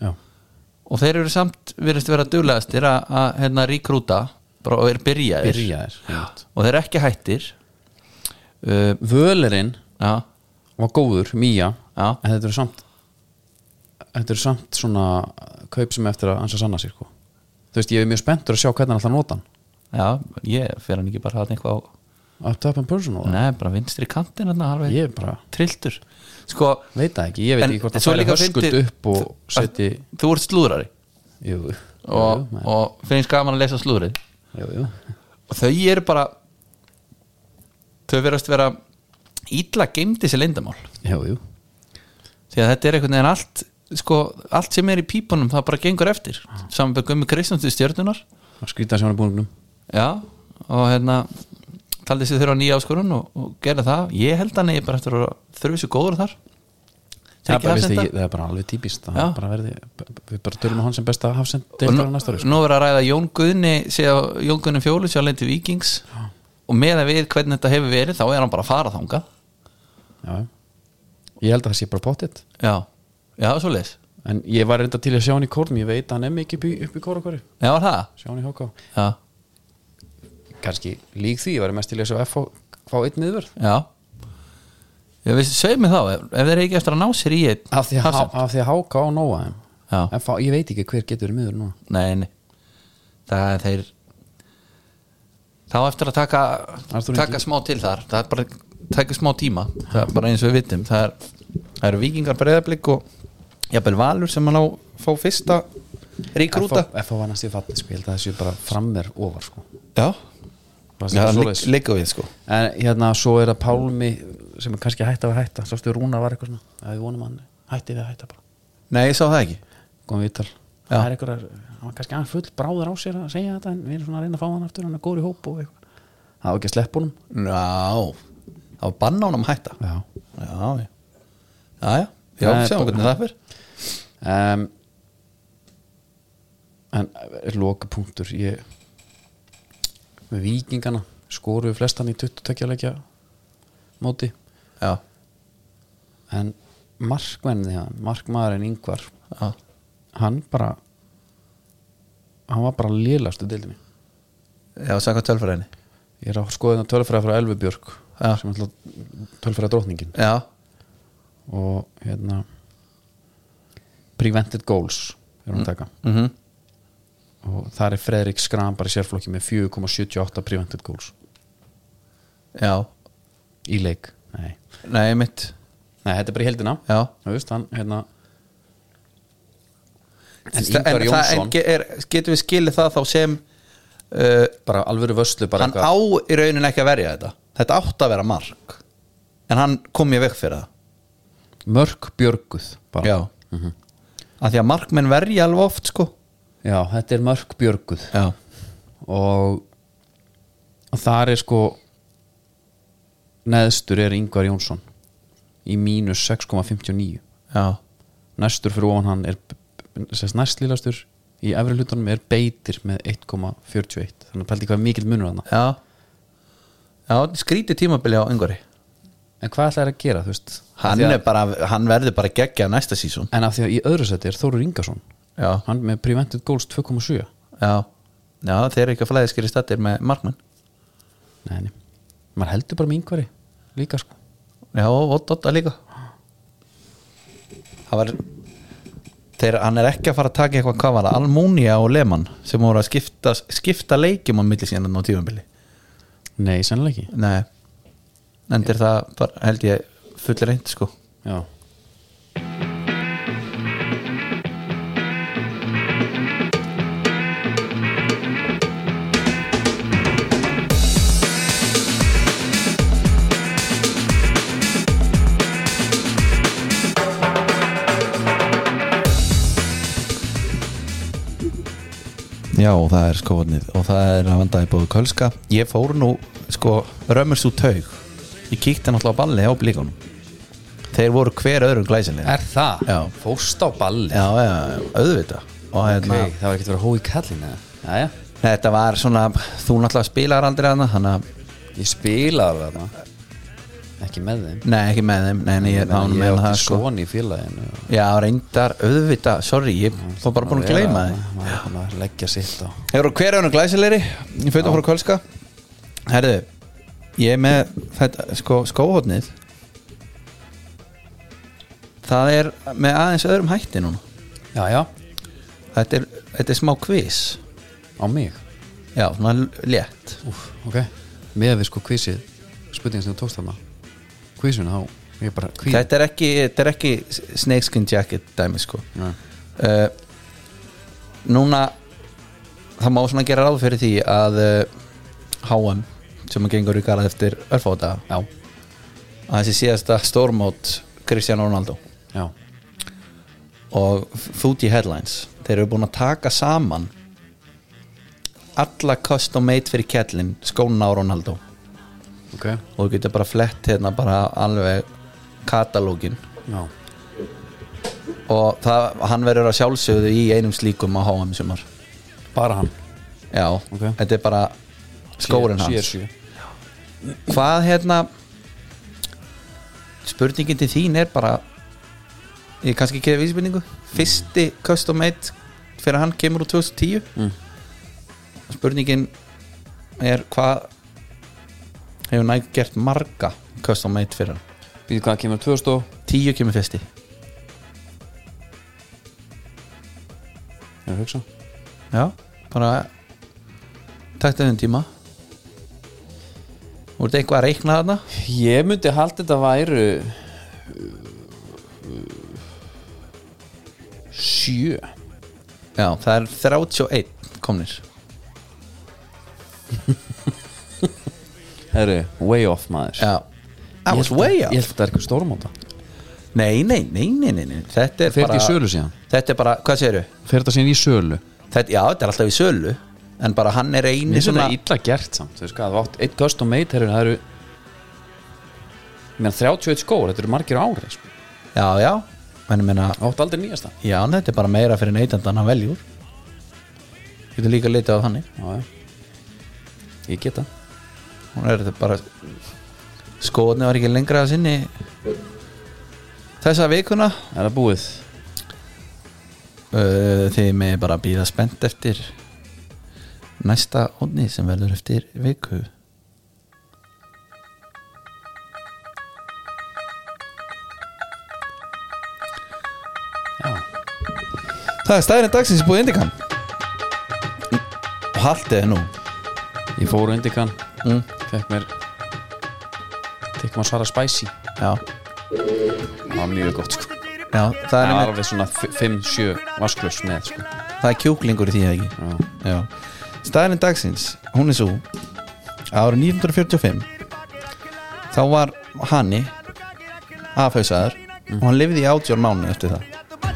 S2: já,
S3: og þeir eru samt virðist vera duglegastir að, að hérna ríkrúta bara og er byrjaðir
S2: byrjaðir einmitt.
S3: og þeir eru ekki hættir uh,
S2: völerinn
S3: já,
S2: var góður, Mía
S3: Já.
S2: en þetta eru samt þetta eru samt svona kaup sem er eftir að hans að sanna sér sko. þú veist, ég er mjög spenntur að sjá hvernig hann ætlar að nota hann
S3: já, ég fer hann ekki bara hann eitthvað á,
S2: up top and personal
S3: neða, bara vinstri kantin hann alveg
S2: ég bara
S3: trilltur sko,
S2: veit það ekki, ég veit
S3: En
S2: ekki hvort
S3: svo
S2: það færi
S3: líka
S2: höskuld
S3: fyndi-
S2: upp og seti
S3: þú ert slúðrari
S2: jú, jú,
S3: og,
S2: jú,
S3: og finnst gaman að lesa slúðrið
S2: jú, jú.
S3: og þau eru bara þau verðast vera ítla geimdi sér leyndamál
S2: Jú, jú.
S3: því að þetta er einhvern veginn allt sko, allt sem er í pípunum það bara gengur eftir
S2: Ah.
S3: saman með Gummi Kristjáns til stjörnunar
S2: að skrýta sem hann er búinum
S3: já, og hérna taldi sér þurfa nýja áskorun og, og gera það ég held að neyja bara eftir að þurfi sér góður þar
S2: það er,
S3: Tekið
S2: bara, veist,
S3: hafsenda.
S2: ég, það er bara alveg típist
S3: Já.
S2: það bara verði, við bara tölum á hann sem besta hafsend
S3: og
S2: deildar
S3: nú,
S2: á næsta ári sko.
S3: nú verður að ræða Jón Guðni sé á- Jón Guðni Fjólu sér að leiti Víkings og með að við hvernig þetta hefur verið þá er hann bara að fara þangað
S2: Já. ég held að það sé bara pottitt
S3: já, já, svo leis
S2: en ég var reynda til að sjá hann í kórnum ég veit að hann er mikið upp í- upp í kóra hverju
S3: já, var það
S2: sjá hann í HK
S3: já,
S2: kannski lík því, ég var mest til að sjá F fá einn miðvörð
S3: já ég veist, segð mér þá ef, ef þeir eru ekki eftir að ná sér í einn
S2: af því að,
S3: hafsend.
S2: af því að HK á Nóa
S3: Já.
S2: F, ég veit ekki hver getur verið miðvörð núna
S3: Nei, nei Það er þeir Þá eftir að taka,
S2: Arthur
S3: taka
S2: Ingi.
S3: smá til þar Það er bara taka smá tíma Það er bara eins og við vitum Það, er, það eru vikingar breyðablík og jafnvel valur sem hann á fá fyrsta ríkrúta
S2: F- F var næst í fatni sko, ég held að það sé bara framver ofar sko
S3: Já,
S2: Bara sem
S3: Já
S2: svoleiðis.
S3: lík, líka við sko
S2: en hérna svo er það Pálmi sem er kannski hætt af að hætta, sástu Rúna var eitthvað svona að við vonum hann, hætti við að hætta bara
S3: Nei, ég sá það ekki
S2: komum við í tal
S3: Já.
S2: það er eitthvað, hann var kannski aðeins full bráður á sér að segja þetta en við erum svona að reyna að fá hann aftur hann er góður í hóp og eitthvað það var ekki að sleppa honum
S3: Ná, það var banna honum að hætta Já,
S2: Já.
S3: já Já, já, já,
S2: Það er
S3: sjáum
S2: bara-
S3: hvernig það fyrr
S2: um, en er lokapunktur ég með vikingana skoruðu flestan í 22 leikja móti
S3: Já,
S2: en markvenni hann, markmaðurinn yngvar
S3: já,
S2: hann bara hann var bara lélastu deildinni
S3: já, sagði hvað tölfræðinni
S2: ég er að skoða þetta tölfræða frá Elvi Björk
S3: Já.
S2: sem er alltaf tölfræða drótningin
S3: Já,
S2: og hérna prevented goals er hún að taka
S3: mhm
S2: og þar er Fredrik Skram bara í sérflokki með 4,78 prevented goals
S3: Já,
S2: í leik nei,
S3: nei mitt
S2: nei þetta er bara í heldina
S3: Já
S2: þú veist hann hérna en Ingvar
S3: Þa- það-
S2: Jónsson
S3: en ge- er, Getum við skilið það þá sem uh,
S2: bara alvöru vöslu bara
S3: Hann á í raunin ekki að verja þetta Þetta átt að vera mark En hann kom ég vekk fyrir það
S2: mörg björguð bara. Mhm.
S3: mm Að því að markmenn verja alveg oft sko
S2: Já, þetta er mörg björguð
S3: Já
S2: og og þar er sko neðstur er Ingvar Jónsson í mínus 6,59
S3: Já,
S2: næstur fyrir ofan hann er sérst næstlílastur í efri hlutunum er beitir með 1,41 þannig að pældi hvað er mikill munur hann
S3: já Já, skrítið tímabili á yngvari
S2: en hvað ætlaði að gera þú veist Af
S3: Hann,
S2: því að,
S3: er bara, hann verður bara geggja næsta sísón
S2: en af því að í öðru seti er Þórur Ingarsson
S3: já,
S2: hann með prevented goals 2,7
S3: já, já, þeir eru ekki að flæðiskeri stættir með markmann
S2: nei, nei, maður heldur bara með yngvari líka sko
S3: já, og Dotta líka það var þeir, hann er ekki að fara að taka eitthvað hvað var það, Almunia og Lehmann sem voru að skipta, skipta leikjum á milli síðan á tífumbili
S2: nei, sennilega ekki
S3: Nei Endir það bara, held ég full reynd sko
S2: já.
S3: Já, það er skoðnið og það er að vandaði búið kölska Ég fór nú, sko, römmurst úr taug Ég kíkti náttúrulega á balli á blíkunum Þeir voru hver öðrum glæsilega
S2: er það?
S3: Já.
S2: fóst á balli
S3: Já, já, auðvita Og
S2: Ok,
S3: hérna,
S2: það var ekkert verið að hóa í kallin eða já, já,
S3: þetta var svona Þú náttúrulega spilar aldrei hana Þannig að,
S2: ég spilaði þarna ekki með þeim
S3: nei, ekki með þeim Nei, nei, ég,
S2: ég,
S3: ég,
S2: ég,
S3: ég
S2: átti
S3: það, sko.
S2: svona í félaginu
S3: Já, reyndar, auðvita, sorry Ég var bara búin að gleyma
S2: Já,
S3: þið
S2: maður er búin að leggja sitt á
S3: Þeir eru hver önum glæsilegri Ég fyrir að fara kölska Herðu, ég er með þetta, sko, skóhóttnið Það er með aðeins öðrum hætti núna
S2: já, já,
S3: Þetta er, þetta er smá quiz
S2: á mig
S3: Já, svona l- létt
S2: Úf, ok, með við sko kvísið spurningin sem þú tókst þarna kvísinu þá, ég er bara kvíð
S3: Þetta er ekki, þetta er ekki snakeskin jacket dæmi sko
S2: Nei.
S3: uh, Núna það má svona gera ráð fyrir því að uh, HM sem að gengur í garað eftir örfóta
S2: já,
S3: að þessi síðasta stórmót Cristiano Ronaldo
S2: já,
S3: og Foodie Headlines þeir eru búin að taka saman alla custom made fyrir kettlin skóna á Ronaldo
S2: ok
S3: og þú getur bara flett hérna bara alveg katalógin
S2: já,
S3: og það, hann verður að sjálfsögðu í einum slíkum á HM sumar
S2: bara hann
S3: já,
S2: Ok.
S3: þetta er bara skórin hans
S2: CR7.
S3: hvað hérna spurningin til þín er bara ég kannski gefa vísbyrningu fyrsti custom made fyrir hann kemur úr 2010
S2: Mm.
S3: spurningin er hvað hefur næg gert marga custom made fyrir hann
S2: býðu hvað kemur 2000 og
S3: 10 kemur fyrsti
S2: ég er að hugsa
S3: já, bara takta þenn tíma voru þetta eitthvað að reikna þarna
S2: ég myndi halda þetta væru uh, sjö
S3: já, það er 31 komnir
S2: herru, way off maður
S3: já I was way up
S2: ég held að þetta er eitthvað stórmóta
S3: Nei, nei, nei, nei, nei, nei. Þetta er
S2: Fer
S3: bara
S2: þetta í sölu síðan?
S3: Þetta er bara, hvað segirðu?
S2: fer þetta síðan í sölu
S3: Þetta, já, þetta er alltaf í sölu En bara hann er eini
S2: Mér finnst
S3: svona
S2: þetta illa gert samt Þú veist hvað, þú átt eitt custom made herru, Það eru Ég meina 31 skór, þetta eru margir á ári sko.
S3: Já, já, en ég meina
S2: Þú Átt aldrei nýjasta
S3: Já, en þetta er bara meira fyrir neytandan hann veljúr Getur líka litið á þannig
S2: Já, já Ég geta
S3: Hún er þetta bara Skoðni var ekki lengra að sinni Þessa vikuna
S2: Er það búið?
S3: uh, Þið með bara býða spennt eftir Næsta onni sem verður eftir viku
S2: Já
S3: Það er staðurinn dagsins búið Indikan Og haldið er nú
S2: Ég fór á Indikan
S3: mm.
S2: Fekk mér Fekk maður svara spicy
S3: Já,
S2: Það var mjög gott sko
S3: já það, er
S2: Það var
S3: einmitt,
S2: alveg svona 5-7 vasklaus með sko
S3: það er kjúklingur í því eða ekki
S2: Já
S3: Já Staðurinn dagsins, hún er svo Árið 1945 Þá var Hanni Afhauðsaður
S2: Mm.
S3: Og hann lifði í átjón mánu eftir það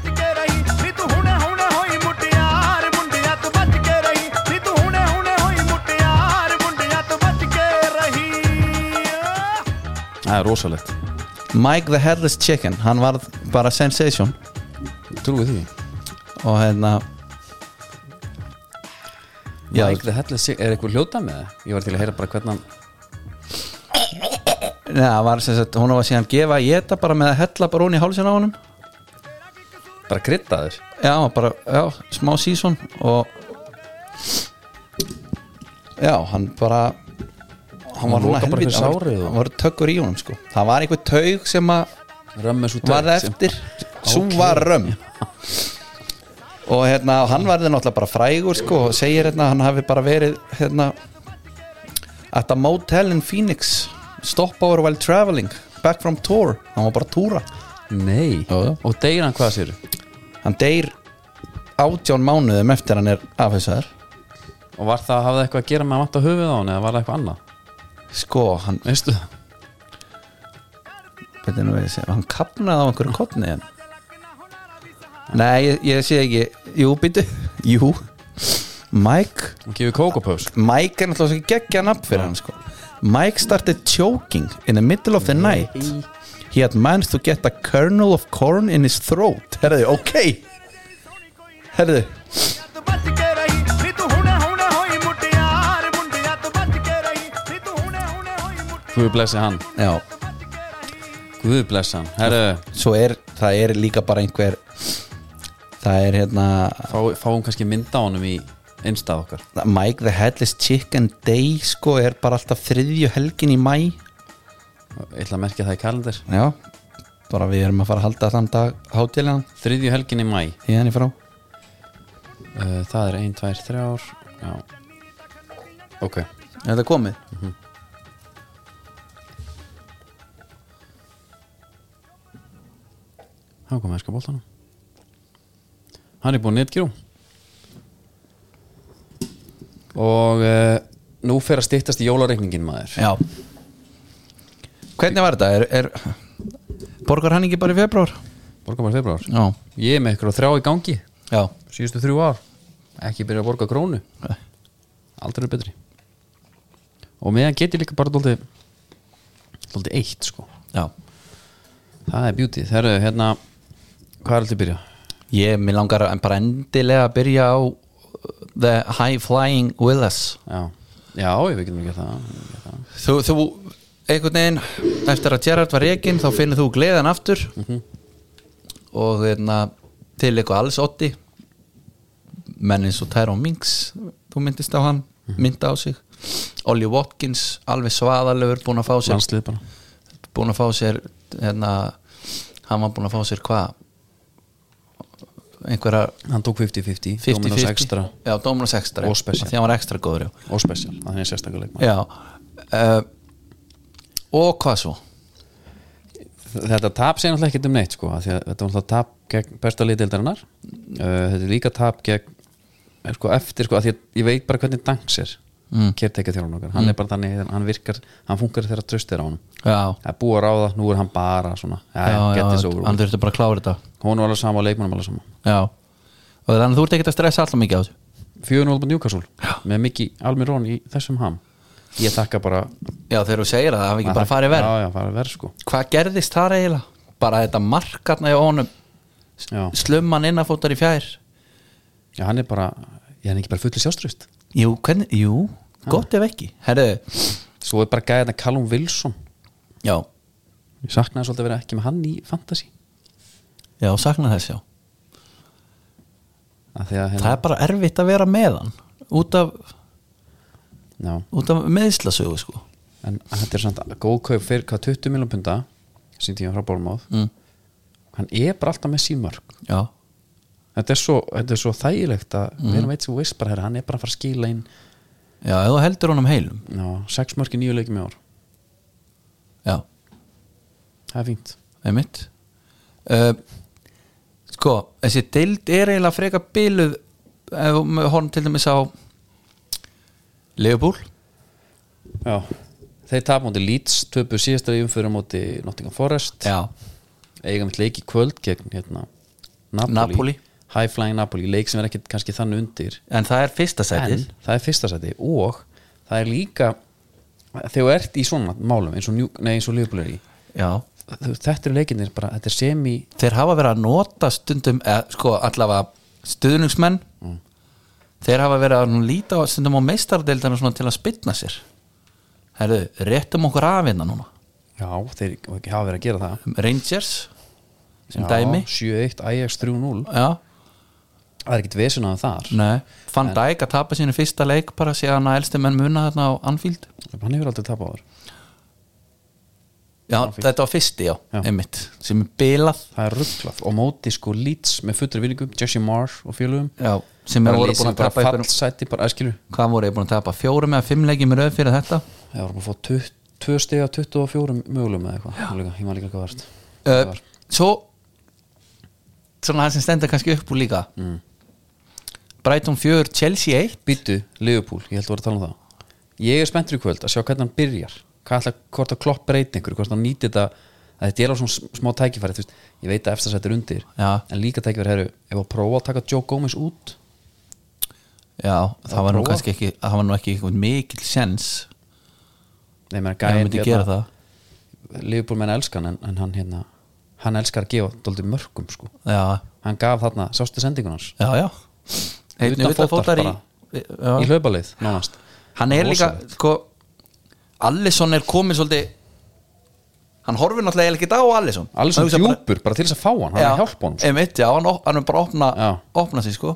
S4: ਤੂੰ ਬਚ ਕੇ ਰਹੀ ਨੀ ਤੂੰ ਹੁਣੇ ਹੁਣੇ ਹੋਈ ਮੁਟਿਆਰ ਮੁੰਡਿਆ ਤੂੰ ਬਚ ਕੇ ਰਹੀ ਨੀ ਤੂੰ ਹੁਣੇ ਹੁਣੇ ਹੋਈ ਮੁਟਿਆਰ ਮੁੰਡਿਆ ਤੂੰ ਬਚ ਕੇ ਰਹੀ
S2: Það er rosalegt
S3: Mike the Headless Chicken, hann varð bara sensation
S2: Trúið því
S3: Og hérna Já,
S2: Mike the Headless Chick- Er eitthvað hljóta með það? Ég var til að heyra bara hvernig hann
S3: Nei, það var sem sagt, hún var síðan gefa að geta bara með að hella bara hún í hálsinn á honum
S2: bara kryddaður
S3: já, bara, já, smá season og já, hann bara hann var
S2: Hann
S3: núna
S2: lokar bara
S3: helviti
S2: fyrir
S3: hann var-
S2: sárið og-
S3: hann var tökkur í honum sko það var einhver taug sem að
S2: Römmes út
S3: var eftir svo var römm og hérna, og hann varði náttúrulega bara frægur sko, og segir hérna, hann hafi bara verið hérna at a motel in Phoenix stopover while traveling back from tour, hann var bara að túra
S2: Nei,
S3: Já, já.
S2: og deyr hann hvað sér
S3: hann deyr átján mánuðum eftir hann er afhæsaður
S2: Og var það, hafði það eitthvað að gera með að vanta höfuð á hann Eða var það eitthvað annað,
S3: sko, hann,
S2: veistu það
S3: hvernig nú veist hann kapnaði á einhverju kottni en nei, ég, ég sé ekki jú, býtu, jú Mike
S2: Hún gefur kókopöfs
S3: Mike er náttúrulega svo geggja nafn fyrir hann sko. Mike started choking in the middle of the night He had managed to get a kernel of corn in his throat Herðu, ok Herðu,
S4: ਤੂੰ ਬਚ ਕੇ ਰਹੀ ਨੀ ਤੂੰ ਹੁਣੇ ਹੁਣੇ ਹੋਈ ਮੁਟਿਆਰ ਮੁੰਡਿਆ ਤੋਂ ਬਚ ਕੇ ਰਹੀ ਨੀ ਤੂੰ ਹੁਣੇ ਹੁਣੇ ਹੋਈ ਮੁਟਿਆਰ
S2: Guð blessi hann,
S3: já
S2: Guð blessi hann Herru,
S3: Svo er, það er líka bara einhver Það er hérna
S2: fá, fáum kannski mynda á honum í einstað okkar
S3: Mike the Headless Chicken Day sko er bara alltaf þriðju helgin í mæ
S2: Ég ætla að merkja það í kalendar
S3: Já, bara við erum að fara að halda þann dag hátíðlegan
S2: Þriðju helgin í mæ
S3: í henni frá
S2: uh, Það er ein, tvær, þrjár Já Ok,
S3: Er þetta komið?
S2: þá kom erska boltanum Hann er búinn netgjó Og uh, nú fer að styttast í jólareikningin maður
S3: Já Hvernig var þetta? Er, er, borgar hann ekki bara í februar?
S2: Borga bara februar
S3: Já
S2: Ég er með ykkur á þrjá í gangi
S3: Já
S2: Síðustu þrjú ár Ekki byrja að borga krónu Aldrei er betri Og meðan get ég líka bara dóldi Dóldi eitt sko
S3: Já
S2: Það er beauty Það eru hérna Hvað er alltaf að byrja?
S3: Ég, mér langar að bara endilega að byrja á uh, The High Flying Willis
S2: Já Já, ég veit ekki mér það Við getum gert það.
S3: Þú, þú, einhvern veginn Eftir að Gerard var reikinn þá finnir þú gleðan aftur
S2: Mhm.
S3: Og þeirna Til eitthvað alls otti Menn eins og Tyrone Minks Þú myndist á hann,
S2: Mhm.
S3: mynda á sig Ollie Watkins, alveg svaðalöfur Búin að fá sér
S2: Landslið bara
S3: búin að fá sér hérna, hann var búin að fá sér hvað einhverja
S2: Hann tók 50-50 Dominos
S3: 50-50
S2: extra
S3: já, Dominos extra
S2: Og special.
S3: Af því hann var extra góður já,
S2: Og special Það er sérstaklega leikmann
S3: já. Uh, og hvað svo
S2: Þetta tap sé náttúrulega ekkert um neitt sko af því að Þetta var náttúrulega tap gegn besta liðdeildarinnar uh, Þetta er líka tap gegn er, sko, eftir sko af því að ég veit bara hvernig Danks er mm. kertekja þjálfum okkar hann er bara þannig, hann virkar, hann funkar þegar tröst er á hann
S3: já,
S2: það er búið að ráða, nú er hann bara svona ja,
S3: já, já
S2: get this over
S3: hann
S2: with.
S3: þurfti bara að klára þetta
S2: hún var alveg sama og leikmannum alveg sama
S3: já, og þannig að þú ert ekkert að stressa alltaf mikið á þessu
S2: 4-0 búin Newcastle með Miki Almirón í þessum ham ég þakka bara
S3: já, þegar þú segir það, það hafi ekki bara farið verð
S2: já, já, farið verð sko
S3: hvað gerðist þar eiginlega bara þetta markarna í honum
S2: já.
S3: slumman innafótar í fjær
S2: já, hann er bara, ég hann er ekki bara fulli sjáströst
S3: jú, hvernig, jú, gott ef ekki herðu,
S2: svo er bara gæðið þetta Callum Wilson
S3: já,
S2: ég saknaði svolítið að vera ekki með hann í fantasy
S3: Já, sakna þess já
S2: Af því að, hérna-
S3: Það er bara erfitt að vera með hann út af,
S2: já,
S3: út af meðslasögu sko
S2: en þetta er samt góð kaup fyrir hvað 20 miljón punda sem tíma frá Bólmáð
S3: mm.
S2: hann er bara alltaf með sín mörg
S3: Já,
S2: þetta er svo, þetta er svo þægilegt að
S3: Mm.
S2: við erum veit sem þú veist bara herra, hann er bara að fara að skila inn
S3: já, ef þú heldur honum heilum
S2: já, sex mörg í nýju leikum í ár
S3: Já,
S2: það er fínt
S3: einmitt uh, Sko, þessi deild er eiginlega freka biluð ef við horfum til dæmis á Leopold
S2: já, þeir tapa móti Leeds töpu síðasta í umfyrir móti Nottingham Forest
S3: Já,
S2: eiga mitt leik í kvöld gegn hérna, Napoli,
S3: Napoli.
S2: High Flying Napoli, leik sem er ekkit kannski þannig undir
S3: en það er fyrsta
S2: en
S3: sætið
S2: það er fyrsta sæti og það er líka þegar þú ert í svona málum eins og, njú, nei, eins og Liverpool er í
S3: Já,
S2: þú- þetta eru leikinir bara, þetta er semi
S3: þeir hafa verið að nota stundum eða, sko allavega stuðningsmenn
S2: Mm.
S3: þeir hafa verið að nú líta á, stundum á meistardeildana svona til að spytna sér herru, réttum okkur af hérna núna Um
S2: já, þeir hafa verið að gera það
S3: Rangers sem dæmi
S2: 7-1, Ajax 3-0
S3: Já,
S2: Það er ekkert vesen að þar
S3: nei Fann Dæk að tapa sínu fyrsta leik bara síðan að elsti menn muna þarna á Anfield
S2: Hann hefur aldrei tapað á þar
S3: Já, þetta var fyrsti, já,
S2: Já.
S3: einmitt sem er bilað
S2: Það er rugglað og móti sko Leeds með fullri vinningum Jesse Marsh og fjölugum
S3: já, sem er
S2: Bara
S3: voru
S2: lið
S3: búin
S2: sem
S3: að
S2: bara
S3: tapa
S2: fall
S3: ykkur,
S2: sæti bara æskilu
S3: hvað voru ég búin að tapa fjórum eða fimm leikjum í röð fyrir þetta
S2: Það voru bara að fá 2 stiga 24 mögulegum eða eitthvað Ég man líka- Ég maður líka hvað var þetta
S3: uh, svo svona það sem stendur kannski upp úr líka mm. Brighton 4, Chelsea 1
S2: Býtu, Liverpool, ég held að voru að tala um það Ég er spenntur í kvöld að sjá hvernig hann byrjar Hvað ætla, hvort að klopp breyti einhverju Hvort hann nýti þetta að Þetta er á svona sm- smá tækifæri þú veist, Ég veit að efstasætt er undir
S3: Já.
S2: En líka tækifæri eru Ef að prófa að taka Joe Gomez út
S3: já, það
S2: Að
S3: var nú
S2: prófa.
S3: kannski ekki það var nú ekki einhvern mikil sens
S2: Nei, menn,
S3: ef hann myndi gera það
S2: Liverpool menn hérna, elskan en, en hann hérna Hann elskar að gefa dóldi mörgum sko
S3: já,
S2: Hann gaf þarna, sástu sendingun hans
S3: já, já Einnig
S2: Utan fótar
S3: utanfótar í,
S2: bara.
S3: já.
S2: Í hlaupaleið, nánast
S3: hann er líka
S2: Rosalegt.
S3: sko, Allison er komin svolítið hann horfir náttúrulega ekki á Allison
S2: Allir svona
S3: Hann hugsar bara-
S2: djúpur, bara til þess að fá hann Hann er að hjálpa honum sko.
S3: einmitt, já, hann, op- hann er bara að opna,
S2: Já.
S3: opna sig sko.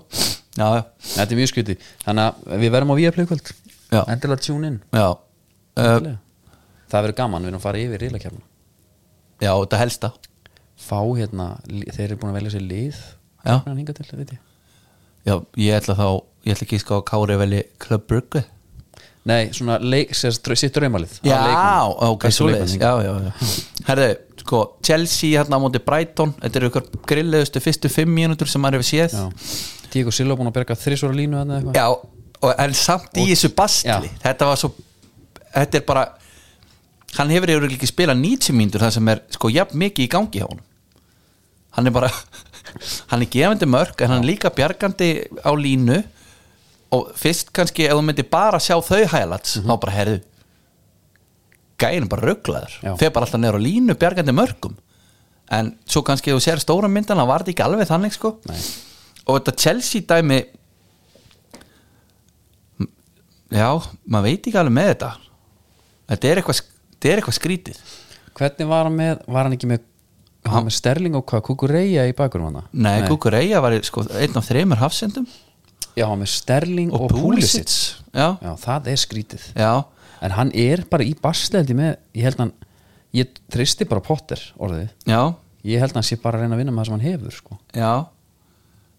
S3: já, já,
S2: Þetta er mjög skyti Þannig að við verðum á Viaplay í kvöld
S3: Já.
S2: Endilega tune in
S3: já. Uh,
S2: Endilega. Það verður gaman, við erum að fara yfir reylakefna
S3: já, þetta helsta
S2: Fá hérna, li- þeir eru búin að velja sér lið
S3: Já.
S2: Hann hingað til, veit ég
S3: já, ég ætla þá, ég ætla ekki sko að Kári veli Club Brugge
S2: Nei, svona leik, sér, sitt draumalið af
S3: já,
S2: leikmönnum.
S3: ok,
S2: Bestu
S3: svo leiðis
S2: leikmönnum.
S3: já, já, já. herðu, sko, Chelsea hérna á móti Brighton, þetta eru ykkur grilleðustu fyrstu fimm mínútur sem maður hefur séð já,
S2: Já. Tíko Silva búin að berga þrísvara línu þarna eitthvað.
S3: og, en samt í þessu bastli
S2: Já.
S3: þetta var svo, þetta er bara hann hefur yfir ekki spilað 90 mínútur það sem er sko jafn mikið í gangi hjá honum hann er bara <laughs> hann er gefandi mörg en hann er líka bjargandi á línu og fyrst kannski ef þú myndir bara sjá þau highlights þá bara herðu gæin er bara rugglaður
S2: Já.
S3: þeir bara alltaf neður á línu bjargandi mörgum en svo kannski ef þú sér stóra myndan hann var þetta ekki alveg þannig sko
S2: Nei.
S3: og þetta Chelsea dæmi M- já, maður veit ekki alveg með þetta þetta er eitthvað, sk- þetta er eitthvað skrítið
S2: Hvernig var hann með, var hann ekki með Hann var með Sterling og hvað, Kukureya í bakurum hann
S3: Nei, Nei. Kukureya var í, sko, einn af þreymur hafsendum
S2: Já, hann var með Sterling og,
S3: og Pulisic já,
S2: Já, það er skrítið
S3: já,
S2: En hann er bara í basleildi með Ég held hann, ég tristi bara Potter orðið,
S3: já,
S2: ég held hann sé bara að reyna að vinna með það sem hann hefur sko.
S3: já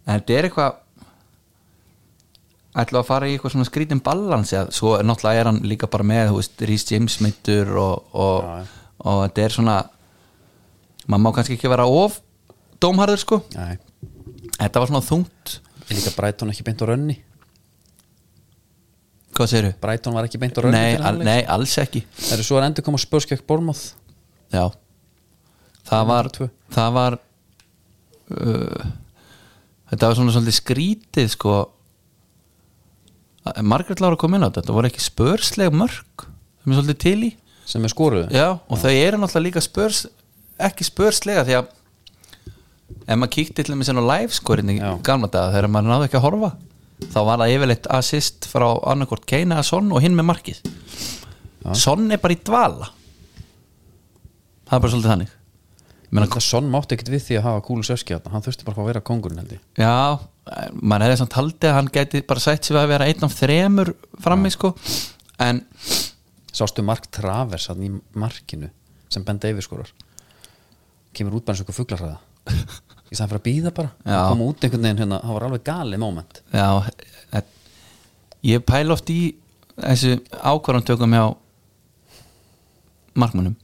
S3: en þetta er eitthvað ætla að fara í eitthvað svona skrítin balans eða svo er náttúrulega er hann líka bara með þú veist, Rhys James mittur og, og,
S2: Já, já.
S3: og þetta er svona maður má kannski ekki vera of dómharður sko,
S2: Nei,
S3: þetta var svona þungt
S2: ég líka Brighton ekki beint á rönni
S3: hvað segirðu?
S2: Brighton var ekki beint á rönni
S3: Nei,
S2: fyrir
S3: al,
S2: hálfleik.
S3: nei, alls ekki
S2: Það eru svo að endur koma spörskjökk Bormoth
S3: Já Það var
S2: tvö.
S3: Það var uh, Þetta var svona svolítið skrítið sko Að- Margrét Lára kom inn á þetta Þetta voru ekki spörsleg mörg sem er svolítið til í
S2: sem er skoruðu
S3: Já, og þau eru náttúrulega líka spörs ekki spörslega því að ef maður kíkti til þess að live scorinni í
S2: Já.
S3: gamla daga þegar maður náðu ekki að horfa þá var það yfirleitt assist frá annarkort Keina að Son og hinn með markið Son er bara í dvala það er bara svolítið þannig Ég meina,
S2: Það sonn mátti ekkit við því að hafa kúlu sörskja hann þurfti bara að fá að vera kongurinn held ég
S3: Já, maður hefði samt haldið að hann gæti bara sætt sig við að vera einn af þremur frammi sko en
S2: Sástu Mark Travers hann í markinu sem Ben Davies skorar kemur út bara eins og ykkur
S3: <laughs>
S2: fuglarhraða ég sagði fyrir að býða bara
S3: Já.
S2: koma út einhvern veginn hérna, það var alveg galið moment
S3: Já, e- ég pæla oft í þessu ákvarðantökum hjá markmannum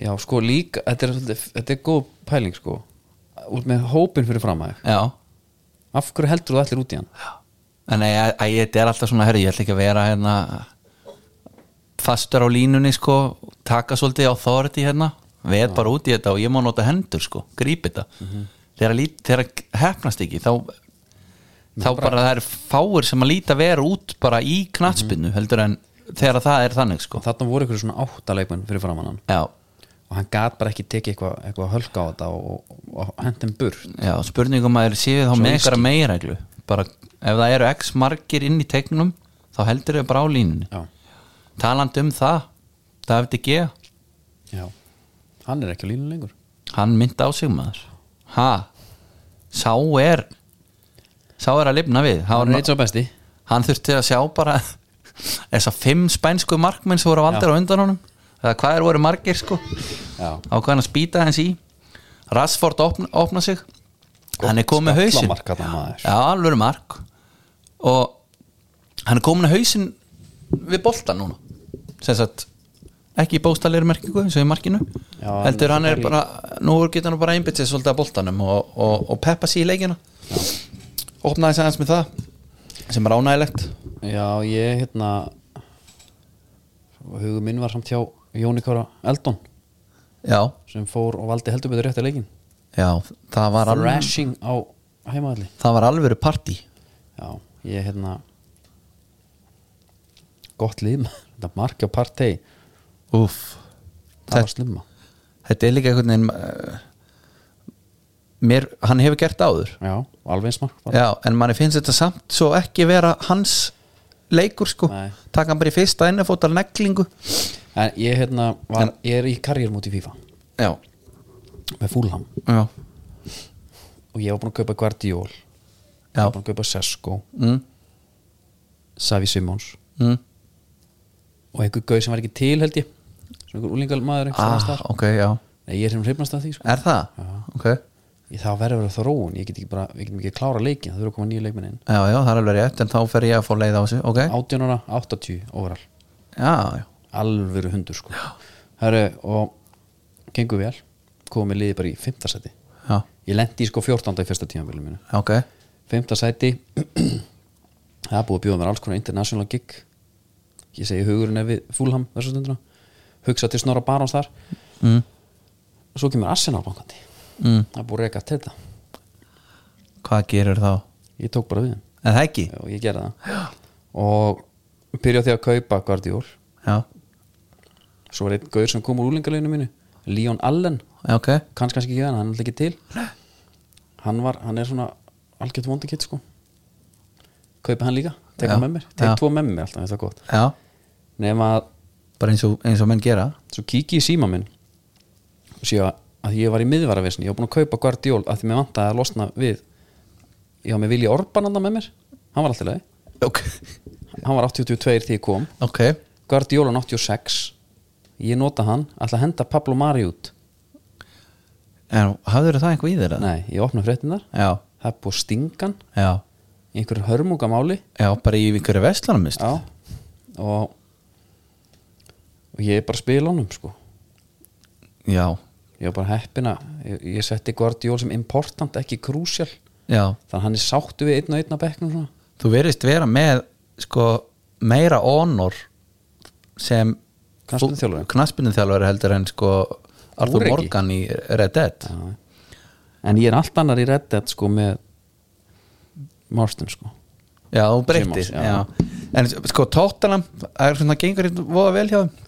S2: Já, sko líka, þetta er, svolítið- þetta er góð pæling sko út með hópin fyrir framæg
S3: Já,
S2: af hverju heldur þú allir út í hann?
S3: en að, að, að þetta er alltaf svona herri, ég ætla ekki að vera hérna fastur á línunni sko taka svolítið á þorti hérna veð bara út í þetta og ég má nota hendur sko grípi þetta þegar, lít, þegar hefnast ekki þá, þá bara, það er fáir sem að líta vera út bara í knattspinnu heldur en þegar Mhm. það er þannig sko
S2: Þarna voru ykkur svona áttaleikmenn fyrir framann hann
S3: Já,
S2: og hann gat bara ekki tekið eitthvað eitthva hölk á þetta og, og, og hendum burt
S3: Já, spurningum að þeir séu þá með
S2: ég
S3: einhverja megiræglu bara ef það eru x margir inn í teiknum þá heldur þau bara á línunni
S2: Já,
S3: talandi um það, það hefði ekki
S2: já Hann er ekki á línu lengur
S3: Hann myndi á sig maður Ha, sá er Sá er að lifna við
S2: hann
S3: Hann,
S2: er eitt svo besti
S3: hann þurfti að sjá bara <laughs> Þessa fimm spænsku markmenn sem voru valdir á undan honum Eða hvað er voru margir sko
S2: Já.
S3: Ákveðan að spýta hans í Rassford opna, opna sig Hann er komið með hausinn
S2: Skallamark þarna, maður.
S3: Já, alveg mark og hann er komin að hausinn við boltan núna sem sagt, ekki í bóstalegri merkingu eins og í markinu
S2: Já, hann
S3: heldur
S2: er
S3: hann er
S2: bara í-
S3: bara, nú getur hann bara einbytt sér svolítið að boltanum og, og, og peppa sér í leikina opnaði sig aðeins með það sem er ánægilegt
S2: Já, ég hérna hugum minn var samt hjá Jóni Kára Eldon
S3: já,
S2: sem fór og valdi heldur betur rétt að leikin
S3: já, það var alveg
S2: Thrashing á heimaðalli
S3: það var alvöru partí
S2: Já, ég hérna gott lið maður. þetta markja á partei
S3: Úff.
S2: það var slimma
S3: þetta er líka einhvern veginn eh, mér, hann hefur gert það áður
S2: Já, alveg eins mark bara.
S3: Já, en manni finnst þetta samt svo ekki vera hans leikur sko
S2: Nei.
S3: taka hann bara í fyrsta innafótar neglingu
S2: En ég hérna var,
S3: En-
S2: ég er í karriérmóti FIFA
S3: Já,
S2: með Fulham
S3: já,
S2: og ég var búin að kaupa Guardiol ég
S3: já
S2: var búin að kaupa Sesko
S3: mm,
S2: Savi Simons
S3: mm.
S2: og einhver gauð sem var ekki til held ég sem einhver úlingal maður einhvers staðar
S3: Ah,
S2: þar.
S3: ok, já
S2: Nei, ég er sem hrifnast að því sko.
S3: Er það? Já. Ok,
S2: ég, þá verður að vera þróun, ég get ekki bara við getum ekki að klára leikin, það þurfa að koma nýju leikmenn inn
S3: já, já, það er alveg rétt en þá fer ég að fá leið á þessu, ok
S2: 18 ára, 80 óral
S3: Já, já,
S2: alvöru hundur sko Heru, og gengur vel komið liðið bara í 5. seti
S3: já,
S2: ég lendi í sko 14. í fyrsta tímanbili minu
S3: já, ok
S2: 5. seti <clears throat> það er búið að bjóða mér alls konar international gig ég segi hugurinn er við fúlham þessu stundina hugsa til Snorra Barons þar
S3: mm,
S2: og svo kemur Arsenal bankandi
S3: mm.
S2: það er búið að reka til þetta
S3: Hvað gerir þá?
S2: ég tók bara við þeim
S3: Er það ekki?
S2: og ég gerði það og byrja á því að kaupa Guardiol
S3: Já,
S2: svo var einn gaur sem kom úr úlingaleginu mínu Leon Allen,
S3: já, ok
S2: kannski kannski ekki hann hann er alltaf ekki til hann, var, hann er svona algjört vondi kitt sko kaupa hann líka, tek
S3: Já.
S2: hann með mér tek
S3: Já.
S2: tvo með mér alltaf, þetta er gott
S3: Já,
S2: nema að,
S3: bara eins og, eins og menn gera
S2: svo kíki í síma minn og sé að, að ég var í miðvaravesin ég var búin að kaupa Guardiol að því mér vantaði að losna við ég var með Vilja Orban hann með mér hann var alltaf leið,
S3: Ok,
S2: hann var 82 þegar ég kom
S3: ok
S2: Guardiola 86 ég nota hann, ætla að henda Pablo Mari út
S3: En hafður það einhver í þeirra?
S2: nei, ég opna fréttinnar
S3: Já,
S2: það er búið að stinga hann
S3: já,
S2: í einhverju hörmungamáli
S3: já, bara í einhverju veslanum, minnst
S2: já, og og ég er bara að spila honum sko
S3: Já,
S2: ég var bara heppina, ég, ég setti Guardiola sem important, ekki crucial
S3: já,
S2: þannig að hann er sáttu við einn og einn að bekknum svona.
S3: þú verðist vera með sko meira honor sem
S2: Knattspyrnuþjálfari.
S3: knaspinnuþjálfari heldur en sko Arthur
S2: Úreki.
S3: Morgan í Red Dead
S2: en ég er allt annar í Red Dead sko með Marston sko
S3: Já, þú breytir
S2: Simons, já.
S3: já. En sko Tottenham það er svona gengur hérna voða vel hjá þeim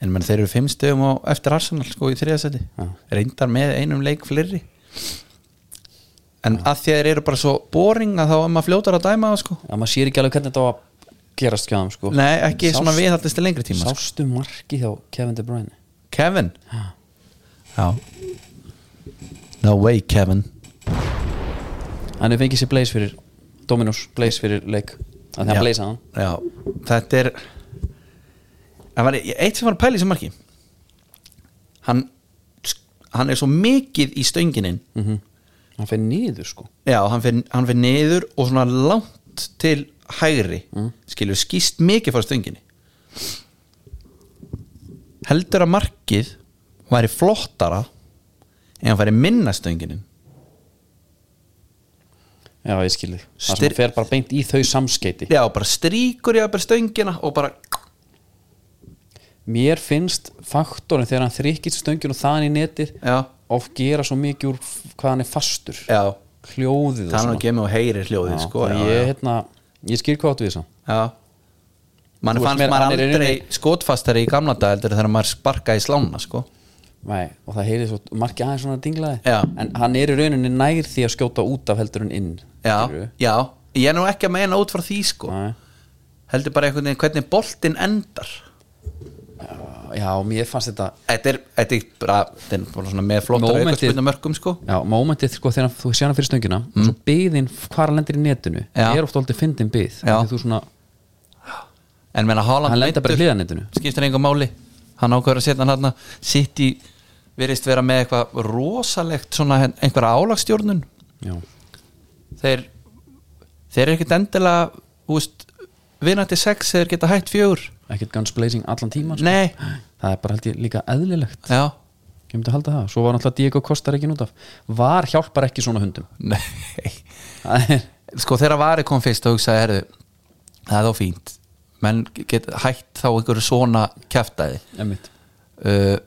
S3: En menn þeir eru fimm stöðum og eftir Arsenal sko í þriðasæti
S2: Já.
S3: Reyndar með einum leik fleiri En að því að þeir eru bara svo boring að þá er maður fljótar að dæma það sko
S2: að maður sér ekki alveg hvernig þetta á að gerast hjá þeim sko
S3: Nei, ekki svona
S2: Sást-
S3: viðhaldist til lengri tíma sko.
S2: sástu marki hjá Kevin De Bruyne
S3: Kevin Já No way Kevin
S2: hann hefur fengið sér Blaze fyrir Dominus, Blaze fyrir leik þannig að hann Blaze hann
S3: Já, þetta er Það var eitt sem var að pæla í sem marki Hann Hann er svo mikið í stöngininn
S2: Mm. hann fyrir niður sko
S3: Já, hann fyrir, hann fyrir niður og svona langt til hægri
S2: Mm.
S3: skilur skýst mikið frá stönginni heldur að markið væri flottara en hann færi minna stönginin
S2: já ég skil þig það sem
S3: Styr-
S2: hann fer bara beint í þau samskeiti
S3: Já, bara stríkur ég að bara stöngina og bara
S2: mér finnst faktorin þegar hann þrykkið stöngjun og þaðan í netið
S3: Já,
S2: of gera svo mikið úr f- hvað hann er fastur
S3: já
S2: hljóðið
S3: Það er nú ekki með og heyrir hljóðið
S2: Já,
S3: sko,
S2: þannig
S3: já,
S2: ég,
S3: já,
S2: hérna, ég skil hvað áttu við þess að
S3: já. Man
S2: Þú veist
S3: fannst
S2: meira, hann er
S3: maður
S2: í
S3: aldrei skotfastari í gamla dagaldur þegar maður sparkaði í slána sko.
S2: Nei, og það heyrði svo markið aðeins svona dinglaði
S3: Já.
S2: en hann er í rauninni nær því að skjóta út af heldur en inn
S3: já,
S2: skilurðu?
S3: já, ég er nú ekki að meina út frá því sko.
S2: Nei.
S3: heldur bara einhvern veginn hvernig boltinn endar
S2: já, mér fannst þetta
S3: Þetta er, þetta er bara, þetta er bara svona með flottar
S2: Mómentið-
S3: aukaspunna mörgum sko
S2: Já, momentið sko þegar þú sé hana fyrir stöngina og svo byðin hvar hann lendir í netinu
S3: Mm. Já.
S2: er ofta aldrei fyndin byð
S3: Já.
S2: þú svona,
S3: En menna Haaland
S2: hann lendar bara
S3: meiddur,
S2: hliðanetinu
S3: Skiptir engum máli Hann ákveður að setja hann hann Sitt í, virðist vera með eitthvað rosalegt Svona hen- einhverja álagstjórnun
S2: Já,
S3: Þeir, þeir eru ekkert endilega Úst, vinandi sex Þeir geta hætt fjögur
S2: ekkert guns blazing allan tíma sko.
S3: Nei,
S2: það er bara held ég líka eðlilegt
S3: já
S2: kemur til að halda það, svo var náttúrulega Diego Kostar ekki út af var hjálpar ekki svona hundum
S3: Nei
S2: Það er-
S3: sko þegar Vari kom fyrst og hugsaði herðu, það er þá fínt menn get hætt þá einhverju svona kæftæði
S2: einmitt.
S3: uh,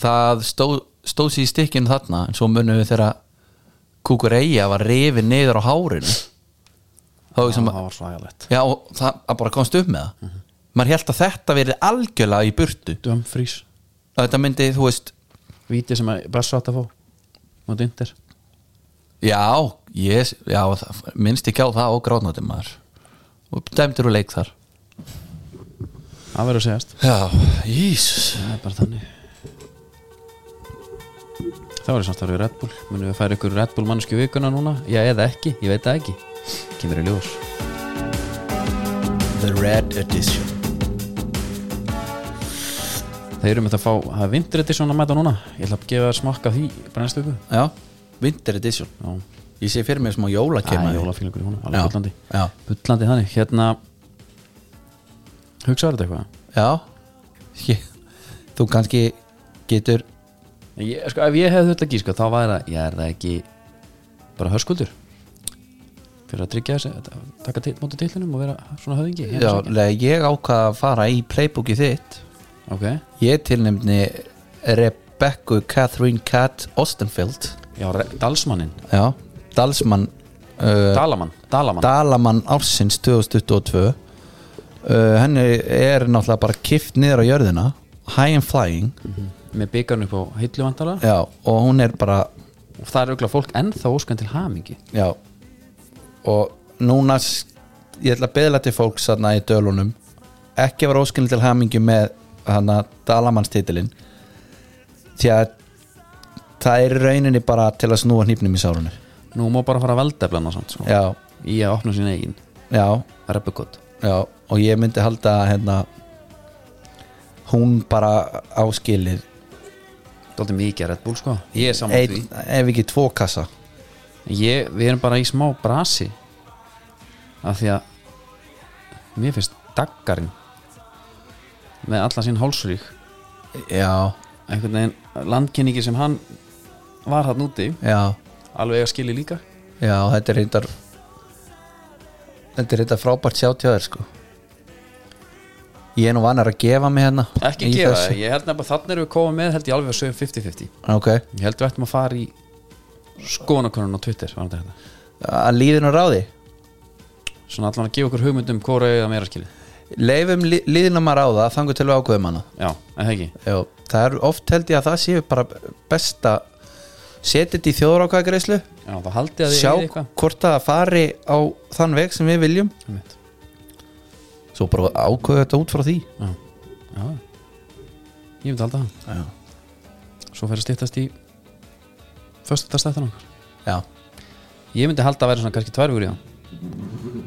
S3: það stóð, stóð sér í stykkinu þarna en svo munum við þegar kúkur eiga var rifið niður á hárinu þá
S2: Já, Mhm.
S3: hugsaði
S2: það
S3: maður
S2: var svagalegt
S3: já og það að bara komst upp með það maður held að þetta verið algjörlega í burtu
S2: Dumfries,
S3: og þetta myndi þú veist
S2: víti sem að Brasso átt að fá og Dindir
S3: já, yes, já það, minnst ekki á það og gráðnátti maður og dæmdur úr leik þar
S2: það verður að segjast,
S3: Já, jís
S2: það er bara þannig það var í samstæður við Red Bull munum við að færa ykkur Red Bull mannsku vikuna núna já eða ekki, ég veit það ekki kemur í ljós
S3: The Red Edition
S2: þeir eru með þetta að fá, það er vindrætti svona að mæta núna ég ætla að gefa þér smakka af því brennstu ykkur
S3: Já, Winter Edition
S2: já,
S3: Ég sé fyrir mér smá jóla
S2: það
S3: kemur
S2: er jólafílingur í honum,
S3: Já,
S2: alveg bullandi
S3: já.
S2: bullandi þannig, hérna hugsaður þetta eitthvað?
S3: Já ég, Þú kannski getur
S2: Ég, sko, ef ég hefði þurft að gíska þá væri það, ég er það ekki bara hörskuldur fyrir að tryggja þessi, að taka til, móti tillinum og vera svona höfðingi hérna ég er
S3: Já,
S2: svo ekki.
S3: lega, Ég ákvað að fara í playbooki þitt
S2: ok,
S3: Ég tilnefni Rebecca Catherine Cat Ostenfeld
S2: já, Re- Dalsmannin
S3: Já, Dalsmann uh,
S2: Dalamann, Dalamann
S3: Dalamann ársins 2022 uh, Henni er náttúrulega bara kift niður á jörðina High and Flying
S2: með byggarn upp á hillu vandala
S3: Já, og hún er bara
S2: og það er auðvitað fólk ennþá óskan til hamingi
S3: Já Og núna s- Ég ætla að beðla til fólks þarna í dölunum Ekki var óskilin til hamingju með Hanna Dalamannstitilin Því að Það er í rauninni bara til að snúa hnýpnum í sárunni
S2: nú má bara fara að veldeflana samt sko.
S3: Já,
S2: í að opna sín eigin,
S3: já,
S2: reppukott
S3: já Og ég myndi halda að hérna Hún bara áskilir
S2: dálítið mikið að Red Bull sko ég er saman
S3: Ein,
S2: því
S3: Ef ekki tvo kassa
S2: ég, við erum bara í smá brasi af því að mér finnst daggarinn með alla sín hálsrík
S3: Já,
S2: einhvern veginn landkynningi sem hann var hann úti
S3: já
S2: alveg að skilja líka
S3: Já, þetta er reyndar Þetta er reyndar frábært sjátt hjá þér sko Ég er nú vanar að gefa mig hérna
S2: ekki
S3: í
S2: gefa,
S3: þessu.
S2: ég held nefnilega þannig erum við komið með held ég alveg að sögum 50-50
S3: Ok,
S2: ég held við ættum að fara í skoðanakonun á Twitter var þetta þetta.
S3: að líðinu ráði
S2: svona allan að gefa okkur hugmyndum hvora eða meira skilja
S3: Leifum lí, líðinum að ráða, þangu til við ákveðum hana
S2: já, en það ekki
S3: Já, það er oft held ég að það séu bara besta Setið þetta í þjóðrákaðgreislu
S2: já, þá haldið að þið
S3: Sjá
S2: eigið eitthvað
S3: hvort það fari á þann veg sem við viljum
S2: Einmitt.
S3: Svo bara ákveðu þetta út frá því
S2: já, já ég myndi halda það
S3: Já,
S2: svo fer að stýttast í föstudagstættan okkar
S3: já,
S2: ég myndi halda að vera svona kannski tvær vikur í það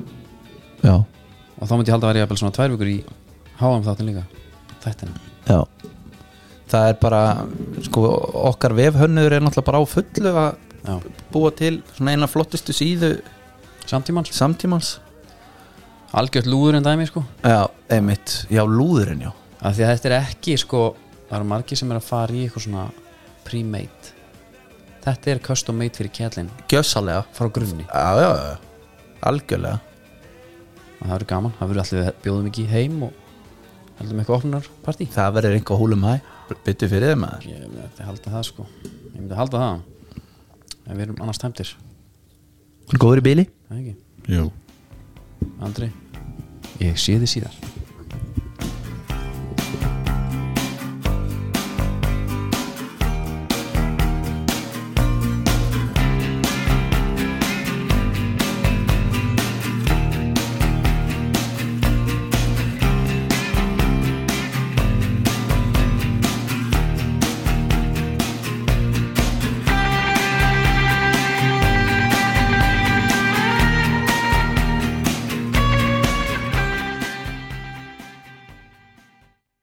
S3: já,
S2: og þá myndi ég halda að vera jafnvel svona tvær vikur í háðum þáttin líka þættina
S3: já. Það er bara, sko, okkar vefhönnur er náttúrulega bara á fullu að
S2: já.
S3: búa til svona eina flottustu síðu
S2: samtímans,
S3: samtímans
S2: algjört lúður en dæmi sko
S3: Já, einmitt, já, lúðurinn já
S2: af því að þetta er ekki sko það eru margir sem er að fara í eitthvað svona pre-made þetta er custom made fyrir kjallin
S3: Gjössalega
S2: frá grunni
S3: Já, já, já, algjörlega
S2: og það verður gaman, það verður allir við bjóðum ekki heim og heldum eitthvað opnar partí
S3: Það verður einhver húlum hæ Byttu fyrir þeim maður
S2: ég myndi halda það sko ég myndi halda það en við erum annars tæmtir,
S3: Góður í bíli?
S2: það ekki
S3: Jú
S2: Andri, ég sé þið síðar